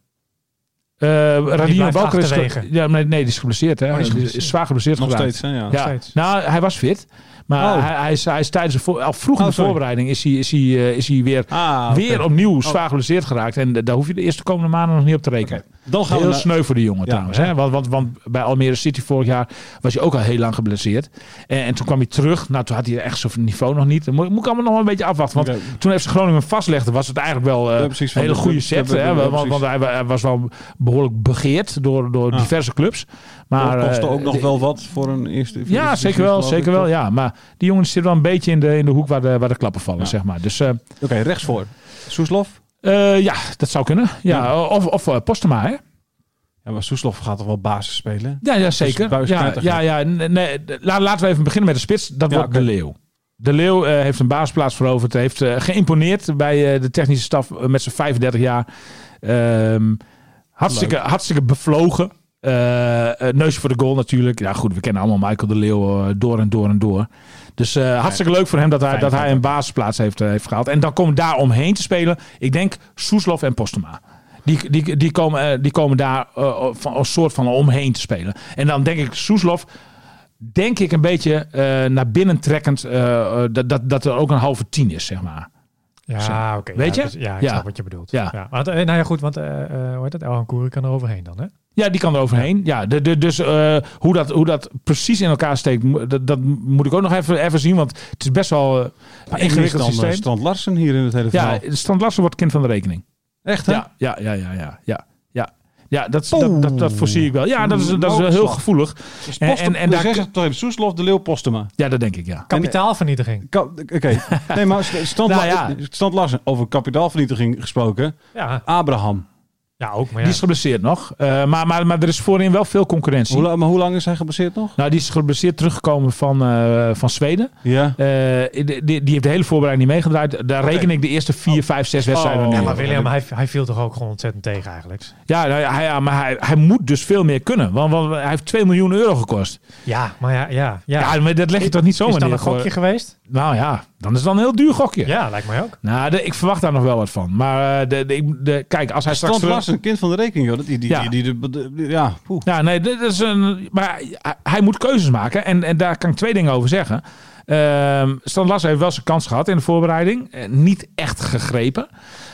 Speaker 3: Eh Radino
Speaker 4: blijft
Speaker 3: Balker is...
Speaker 4: achterwege.
Speaker 3: Ja, nee, nee, die is geblesseerd. Hè.
Speaker 2: Oh,
Speaker 4: die is
Speaker 3: Die is
Speaker 4: geblesseerd.
Speaker 3: zwaar geblesseerd
Speaker 2: Nog
Speaker 3: geraakt.
Speaker 2: steeds, hè? Ja.
Speaker 3: Ja,
Speaker 4: steeds.
Speaker 3: nou, hij was fit. Maar
Speaker 2: Oh.
Speaker 3: hij, hij, is, hij is tijdens de voor, al vroeg
Speaker 2: Oh,
Speaker 3: in de
Speaker 2: sorry.
Speaker 3: voorbereiding is hij, is hij, eh, is hij weer,
Speaker 2: Ah, oké. Oh.
Speaker 3: weer opnieuw zwaar geblesseerd geraakt. En eh, daar hoef je de eerste komende maanden nog niet op te rekenen.
Speaker 2: Oké. Dan gaan we
Speaker 3: Heel
Speaker 2: naar-
Speaker 3: sneu voor die jongen
Speaker 2: Ja,
Speaker 3: trouwens.
Speaker 2: ja.
Speaker 3: Hè? Want, want, want bij Almere City vorig jaar was hij ook al heel lang geblesseerd. En, en toen kwam hij terug. Nou, toen had hij echt zo'n niveau nog niet. Dan moet, moet ik allemaal nog wel een beetje afwachten. Want
Speaker 2: Oké.
Speaker 3: toen heeft ze Groningen vastlegde. Was het eigenlijk wel eh,
Speaker 2: Ja, precies,
Speaker 3: een hele
Speaker 2: van-
Speaker 3: goede
Speaker 2: ja,
Speaker 3: set.
Speaker 2: ja, ja,
Speaker 3: hè?
Speaker 2: ja,
Speaker 3: Want, want hij, wa- hij was wel behoorlijk begeerd door, door
Speaker 2: Ja.
Speaker 3: diverse clubs. Maar
Speaker 2: dat kostte
Speaker 3: eh,
Speaker 2: ook nog
Speaker 3: de-
Speaker 2: wel wat voor een eerste. voor
Speaker 3: Ja,
Speaker 2: eerste
Speaker 3: zeker
Speaker 2: geloof
Speaker 3: wel.
Speaker 2: ik,
Speaker 3: Zeker
Speaker 2: toch?
Speaker 3: wel ja. Maar die jongen zit wel een beetje in de, in de hoek waar de, waar de klappen vallen.
Speaker 2: Ja.
Speaker 3: Zeg maar. Dus eh,
Speaker 2: Oké, rechtsvoor. Soeslof.
Speaker 3: eh, ja, dat zou kunnen. Ja, Of, of eh, Postema, hè?
Speaker 2: Ja, maar Soeslof gaat toch wel basis spelen?
Speaker 3: Ja, ja zeker.
Speaker 2: Buijs
Speaker 3: ja,
Speaker 2: knettergek.
Speaker 3: ja, ja, nee, nee, de- la- laten we even beginnen met de spits. Dat
Speaker 2: Ja,
Speaker 3: wordt
Speaker 2: oké.
Speaker 3: De Leeuw. De Leeuw eh, heeft een basisplaats veroverd. Heeft eh, geïmponeerd bij eh, de technische staf eh, met zijn 35 jaar. Ehm, hartstikke, hartstikke bevlogen. Eh, eh, neusje voor de goal natuurlijk. Ja goed, we kennen allemaal Michael de Leeuw eh, door en door en door. Dus eh, hartstikke leuk voor hem dat hij,
Speaker 2: Fijn,
Speaker 3: dat hij
Speaker 2: fijn.
Speaker 3: een basisplaats heeft, eh, heeft gehaald. En dan komen daar omheen te spelen, ik denk Soeslof en Postema. Die, die, die, komen, eh, die komen daar eh, van, als soort van omheen te spelen. En dan denk ik Soeslof, denk ik een beetje eh, naar binnen trekkend, eh, eh, dat, dat, dat er ook een halve tien is, zeg maar.
Speaker 4: Ja, oké.
Speaker 3: Weet
Speaker 4: ja,
Speaker 3: je?
Speaker 4: dus- Ja, ik
Speaker 3: Ja.
Speaker 4: snap wat je bedoelt.
Speaker 3: Ja.
Speaker 4: Want, eh, nou ja, goed, want eh, eh, hoe heet dat? Elhan Koeri kan er overheen dan, hè?
Speaker 3: Ja, die kan er overheen. Ja, de, de, dus eh, hoe, dat, hoe dat precies in elkaar steekt, mo- dat, dat moet ik ook nog even, even zien. Want het is best wel eh, een
Speaker 2: Ik mis
Speaker 3: ingewikkeld
Speaker 2: dan eh,
Speaker 3: systeem.
Speaker 2: Strand Larsen hier in het hele verhaal.
Speaker 3: ja, Strand Larsen wordt kind van de rekening.
Speaker 2: Echt hè?
Speaker 3: Ja, ja, ja, ja, ja. ja. Ja, ja dat, dat, dat, dat voorzie ik wel. Ja, dat is, dat is wel heel
Speaker 2: Noodslag.
Speaker 3: gevoelig.
Speaker 2: Dus
Speaker 3: En-
Speaker 2: en,
Speaker 3: en- en daar-
Speaker 2: daar zegt toch even Soeslof, de Leeuw, Postema.
Speaker 3: Ja, dat denk ik, ja.
Speaker 4: Kapitaalvernietiging.
Speaker 2: Ka- Oké, nee, maar st- Strand,
Speaker 3: Nou
Speaker 2: La-
Speaker 3: ja.
Speaker 2: Strand Larsen, over kapitaalvernietiging gesproken.
Speaker 4: Ja,
Speaker 2: Abraham.
Speaker 4: ja ook, maar ja.
Speaker 3: Die is geblesseerd nog. Eh, maar, maar, maar er is voorin wel veel concurrentie.
Speaker 2: Hoe, la- maar hoe lang is hij gebaseerd nog?
Speaker 3: nou, die is geblesseerd teruggekomen van, eh, van Zweden.
Speaker 2: Ja.
Speaker 3: Eh, die, die die heeft de hele voorbereiding niet meegedraaid. Daar reken ik de eerste vier, vijf, zes wedstrijden
Speaker 2: Oh.
Speaker 3: niet
Speaker 4: Ja,
Speaker 3: op.
Speaker 4: maar William, hij, hij viel toch ook gewoon ontzettend tegen eigenlijk?
Speaker 3: Ja, nou ja, hij, ja, maar hij, hij moet dus veel meer kunnen. Want, want hij heeft 2 miljoen euro gekost.
Speaker 4: Ja, maar ja, ja. ja.
Speaker 3: Ja, maar dat leg je toch niet zomaar
Speaker 4: is dan
Speaker 3: neer
Speaker 4: een
Speaker 3: voor-
Speaker 4: gokje geweest?
Speaker 3: Nou ja, dan is het dan een heel duur gokje.
Speaker 4: Ja. lijkt mij ook.
Speaker 3: Nou, de- ik verwacht daar nog wel wat van. Maar eh, de, de, ik- de- kijk, als hij straks...
Speaker 2: Strand
Speaker 3: terug-
Speaker 2: Larsen, kind van de rekening, joh. Dat- Die, die,
Speaker 3: Ja.
Speaker 2: die, die- die- die- die- ja, poeh.
Speaker 3: Ja, nee, dit is een, maar hij, hij moet keuzes maken. En, en daar kan ik twee dingen over zeggen. Ehm Stan Lassen heeft wel zijn kans gehad in de voorbereiding. Eh, niet echt gegrepen.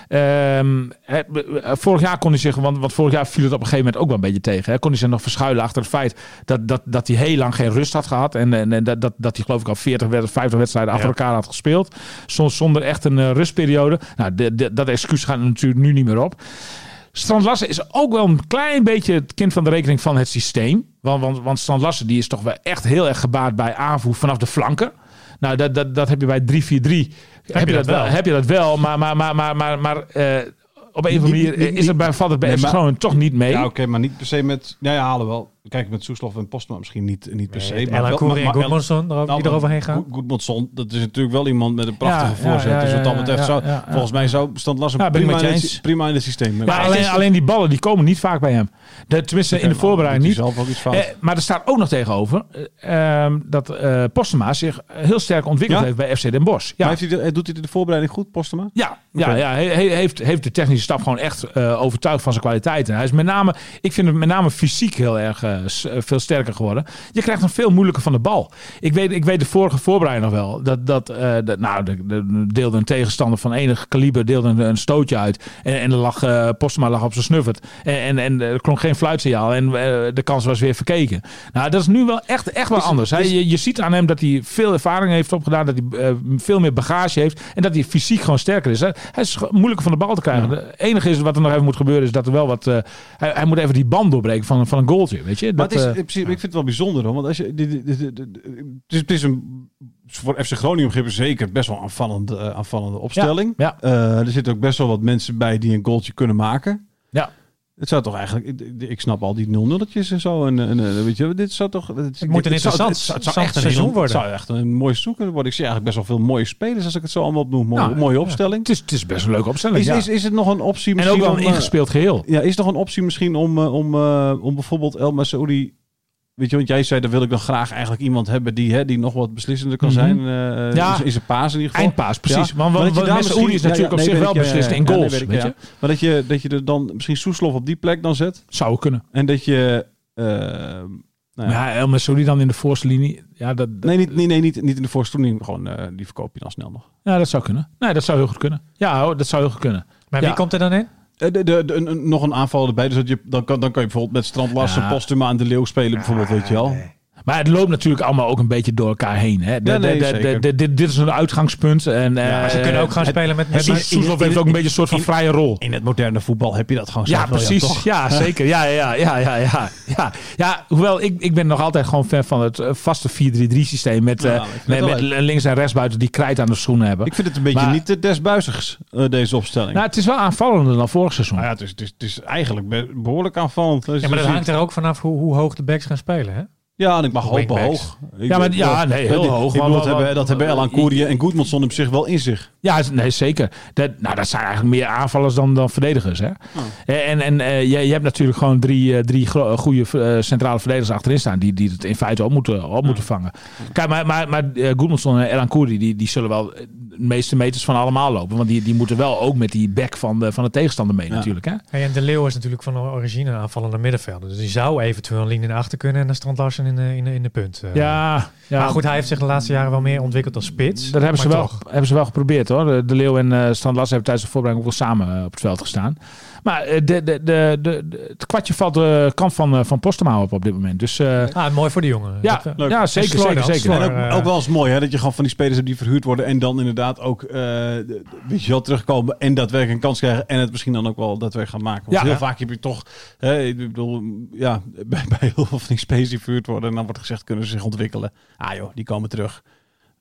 Speaker 3: Ehm, het- eh, vorig jaar kon hij zich, want, want vorig jaar viel het op een gegeven moment ook wel een beetje tegen. Hè, kon hij zich nog verschuilen achter het feit dat, dat, dat hij heel lang geen rust had gehad. En, en, en dat, dat, dat hij geloof ik al 40, wed- 50 wedstrijden achter
Speaker 4: Ja.
Speaker 3: elkaar had gespeeld. Soms zonder echt een eh, rustperiode. Nou, de- de- dat excuus gaat natuurlijk nu niet meer op. Strand Larsen is ook wel een klein beetje het kind van de rekening van het systeem. Want, want, want Strand Larsen die is toch wel echt heel erg gebaat bij aanvoer vanaf de flanken. Nou, dat, dat, dat heb je bij 3-4-3. Heb,
Speaker 4: je dat wel?
Speaker 3: Heb je dat wel, maar, maar, maar, maar, maar, maar eh, op een of andere
Speaker 2: Niet-
Speaker 3: manier eh,
Speaker 2: niet-
Speaker 3: is het bij, valt het bij
Speaker 2: Nee,
Speaker 3: FC
Speaker 2: maar-
Speaker 3: Groningen toch niet mee.
Speaker 2: Ja, oké, maar niet per se met... Nou ja, halen wel. Kijk, met Soeslof en Postma misschien niet, niet
Speaker 3: Dus,
Speaker 2: per se.
Speaker 4: Nee,
Speaker 2: maar
Speaker 4: Elhan
Speaker 2: wel-
Speaker 4: Koeri
Speaker 2: maar-
Speaker 4: Eh, en
Speaker 2: maar-
Speaker 4: Goodmanson er ook- die
Speaker 2: Nou,
Speaker 4: eroverheen gaan.
Speaker 2: Goed- Goedmondson, dat is natuurlijk wel iemand met een prachtige
Speaker 3: Ja, ja,
Speaker 2: voorzet.
Speaker 3: ja,
Speaker 2: dus wat dat
Speaker 3: ja,
Speaker 2: betreft,
Speaker 3: ja,
Speaker 2: zou,
Speaker 3: ja, ja.
Speaker 2: volgens mij zou Strand Larsen
Speaker 3: Ja, ben ik
Speaker 2: prima,
Speaker 3: met
Speaker 2: in
Speaker 3: je
Speaker 2: het,
Speaker 3: eens.
Speaker 2: prima in het systeem.
Speaker 3: Maar alleen, alleen die ballen die komen niet vaak bij hem. De, tenminste, in de voorbereiding niet.
Speaker 2: Zelf ook iets fout.
Speaker 3: Eh, maar er staat ook nog tegenover eh, ehm, dat eh Postema zich heel sterk ontwikkeld
Speaker 2: Ja?
Speaker 3: heeft bij FC Den Bosch. Ja.
Speaker 2: Maar heeft hij de- eh, doet hij de voorbereiding goed, Postema?
Speaker 3: Ja, ja,
Speaker 2: Oké.
Speaker 3: ja he- he- heeft, heeft de technische staf gewoon echt eh, overtuigd van zijn kwaliteiten. Hij is met name, ik vind hem met name fysiek heel erg eh, s- eh, veel sterker geworden. Je krijgt hem veel moeilijker van de bal. Ik weet, ik weet de vorige voorbereiding nog wel. Dat, dat, eh, dat, nou, de, de- deelde een tegenstander van enig kaliber deelde een, een stootje uit. En, en er lag, eh, Postma lag op zijn snuffert. En, en, en er klonk geen fluitsignaal. En eh, de kans was weer verkeken. Nou, dat is nu wel echt, echt wel anders. Hij, je, je ziet aan hem dat hij veel ervaring heeft opgedaan. Dat hij eh, veel meer bagage heeft. En dat hij fysiek gewoon sterker is. Hij, hij is gewoon moeilijker van de bal te krijgen. Het enige is wat er nog even moet gebeuren is dat er wel wat... eh, hij, hij moet even die band doorbreken van, van een goaltje. Weet je?
Speaker 2: Maar
Speaker 3: Dat,
Speaker 2: het is,
Speaker 3: eh,
Speaker 2: in principe, ik vind het wel bijzonder, hoor, want als je, dit- dit- dit- dit- het, is, het is een, voor FC Groningen begrippen zeker best wel een aanvallende, eh, aanvallende opstelling.
Speaker 3: ja.
Speaker 2: Eh, er zitten ook best wel wat mensen bij die een goaltje kunnen maken.
Speaker 3: Ja.
Speaker 2: Het zou toch eigenlijk, ik, ik- ik snap al die 0-0'tjes en zo. En, en, eh, weet je, dit zou toch. Het, dit-
Speaker 4: moet een
Speaker 2: dit zou-
Speaker 4: interessant-
Speaker 2: het zou- het zou
Speaker 4: interessant
Speaker 2: echt een
Speaker 4: seizoen
Speaker 2: heel-
Speaker 4: worden.
Speaker 2: Het zou echt een mooi seizoen kunnen worden. Ik zie eigenlijk best wel veel mooie spelers als ik het zo allemaal opnoem. Mooie,
Speaker 3: Nou,
Speaker 2: mooie opstelling.
Speaker 3: het, is, het is best een leuke opstelling.
Speaker 2: Is,
Speaker 3: ja.
Speaker 2: is, is het nog een
Speaker 3: en
Speaker 2: optie
Speaker 3: ook
Speaker 2: misschien
Speaker 3: wel een
Speaker 2: om, eh,
Speaker 3: ingespeeld geheel.
Speaker 2: ja, is nog een optie misschien om, eh, om, eh, om bijvoorbeeld El Masoudi... Weet je, want jij zei, dan wil ik dan graag eigenlijk iemand hebben die, hè, die nog wat beslissender kan
Speaker 3: Mhm.
Speaker 2: zijn. eh,
Speaker 3: Ja.
Speaker 2: in z- in zijn paas in ieder geval.
Speaker 3: Eindpaas, precies.
Speaker 2: Ja,
Speaker 3: Want,
Speaker 2: maar
Speaker 3: want,
Speaker 2: dat je
Speaker 3: want
Speaker 2: daar
Speaker 3: Messi
Speaker 2: misschien-
Speaker 3: is
Speaker 2: ja, ja,
Speaker 3: natuurlijk
Speaker 2: nee,
Speaker 3: op zich
Speaker 2: weet
Speaker 3: wel
Speaker 2: ik, ja, ja,
Speaker 3: beslist
Speaker 2: ja,
Speaker 3: in
Speaker 2: ja, nee,
Speaker 3: goals.
Speaker 2: weet ik,
Speaker 3: weet
Speaker 2: ja.
Speaker 3: je?
Speaker 2: Maar dat je, dat je er dan misschien Soeslof op die plek dan zet.
Speaker 3: Zou kunnen.
Speaker 2: En dat je... eh, nou ja.
Speaker 3: Maar ja, El Masoudi dan in de voorste linie. Ja, dat, dat-
Speaker 2: Nee, niet, nee, nee niet, niet in de voorste toening. Gewoon, eh, die verkoop je dan snel nog.
Speaker 3: ja, dat zou kunnen. Nee, dat zou heel goed kunnen. Ja, hoor, dat zou heel goed kunnen.
Speaker 4: Maar
Speaker 3: Ja.
Speaker 4: wie komt er dan in?
Speaker 2: Eh, de, de, de- een- een- nog een aanval erbij. Dus dat je, dan, kan, dan kan je bijvoorbeeld met Strandlassen,
Speaker 3: Ja. Ah,
Speaker 2: Postuma en De Leeuw spelen. Bijvoorbeeld, weet je wel.
Speaker 3: Maar het loopt natuurlijk allemaal ook een beetje door elkaar heen. Hè? De-
Speaker 2: Ja, nee,
Speaker 3: de- de-
Speaker 2: zeker.
Speaker 3: de- dit, dit is een uitgangspunt. En, eh,
Speaker 4: Maar ze kunnen ook gaan spelen met... met,
Speaker 3: Soeslof
Speaker 4: met
Speaker 3: heeft ook een beetje een soort van vrije rol.
Speaker 2: In het moderne voetbal heb je dat gewoon
Speaker 3: Ja,
Speaker 2: zelf wel,
Speaker 3: precies.
Speaker 2: toch?
Speaker 3: ja, zeker. Ja, ja, ja, ja, ja, ja. Ja, hoewel ik, ik ben nog altijd gewoon fan van het eh, vaste 4-3-3 systeem. Met, eh,
Speaker 2: Ja, Nou, ik vind het
Speaker 3: met,
Speaker 2: wel
Speaker 3: met links en rechts buiten die krijt aan de schoenen hebben.
Speaker 2: Ik vind het een beetje
Speaker 3: Maar-
Speaker 2: niet de desbuizigs, eh, deze opstelling.
Speaker 3: nou, het is wel aanvallender dan vorig seizoen.
Speaker 2: Nou ja, het is, het is, het is eigenlijk be- behoorlijk aanvallend.
Speaker 4: ja, maar dat
Speaker 2: Dus-
Speaker 4: hangt er ook vanaf hoe, hoe hoog de backs gaan spelen. Hè?
Speaker 2: Ja, en ik mag hopen
Speaker 4: Wingbacks.
Speaker 2: hoog. Ik-
Speaker 3: Ja, maar- ja, nee, heel
Speaker 2: die-
Speaker 3: hoog,
Speaker 2: Ik
Speaker 3: maar-
Speaker 2: bedoel, dat
Speaker 3: maar-
Speaker 2: hebben, dat hebben Elan
Speaker 3: maar-
Speaker 2: Koerje en Goedmanson op zich wel in zich.
Speaker 3: Ja, z- nee, zeker. Dat, nou, dat zijn eigenlijk meer aanvallers dan, dan verdedigers. Hè?
Speaker 4: Oh.
Speaker 3: En, en eh, je, je hebt natuurlijk gewoon drie, eh, drie gro- eh, goede eh, centrale verdedigers achterin staan. Die, die het in feite op moeten, op moeten vangen. Kijk, maar, maar, maar eh, Gudmundsson en Elan Koeri, die, die zullen wel eh, de meeste meters van allemaal lopen. Want die, die moeten wel ook met die back van de, van de tegenstander mee natuurlijk. Hè?
Speaker 4: Hey, en De Leeuw is natuurlijk van origine een aanvallende middenvelder. Dus die zou eventueel een linie naar achter kunnen en dan Strand Larsen in de, in de, in de punt. eh.
Speaker 3: Ja, ja,
Speaker 4: Maar goed, hij heeft zich de laatste jaren wel meer ontwikkeld als spits.
Speaker 3: Dat hebben ze,
Speaker 4: Maar
Speaker 3: wel,
Speaker 4: toch.
Speaker 3: hebben ze wel geprobeerd hoor. De- De Leeuw en eh Stan Lassen hebben tijdens de voorbereiding ook wel samen eh, op het veld gestaan. Maar eh, de, de, de, de- de- het kwartje valt de kant van, eh, van Postema op op dit moment. Dus eh,
Speaker 4: Ah, mooi voor de jongen.
Speaker 3: ja,
Speaker 4: Dat, eh,
Speaker 3: ja, zeker,
Speaker 4: En Slordig,
Speaker 3: zeker, zeker.
Speaker 4: Slordig.
Speaker 2: En ook,
Speaker 4: Maar, eh,
Speaker 2: ook wel eens mooi, hè, dat je gewoon van die spelers hebt die verhuurd worden. En dan inderdaad ook, eh, de- weet je wel, terugkomen en daadwerkelijk een kans krijgen. En het misschien dan ook wel daadwerkelijk gaan maken. Want
Speaker 3: Ja.
Speaker 2: heel
Speaker 3: Ja.
Speaker 2: vaak heb je toch, hè, ik bedoel, ja, bij, bij heel veel van die spelers die verhuurd worden. En dan wordt gezegd, kunnen ze zich ontwikkelen. Ah joh, die komen terug.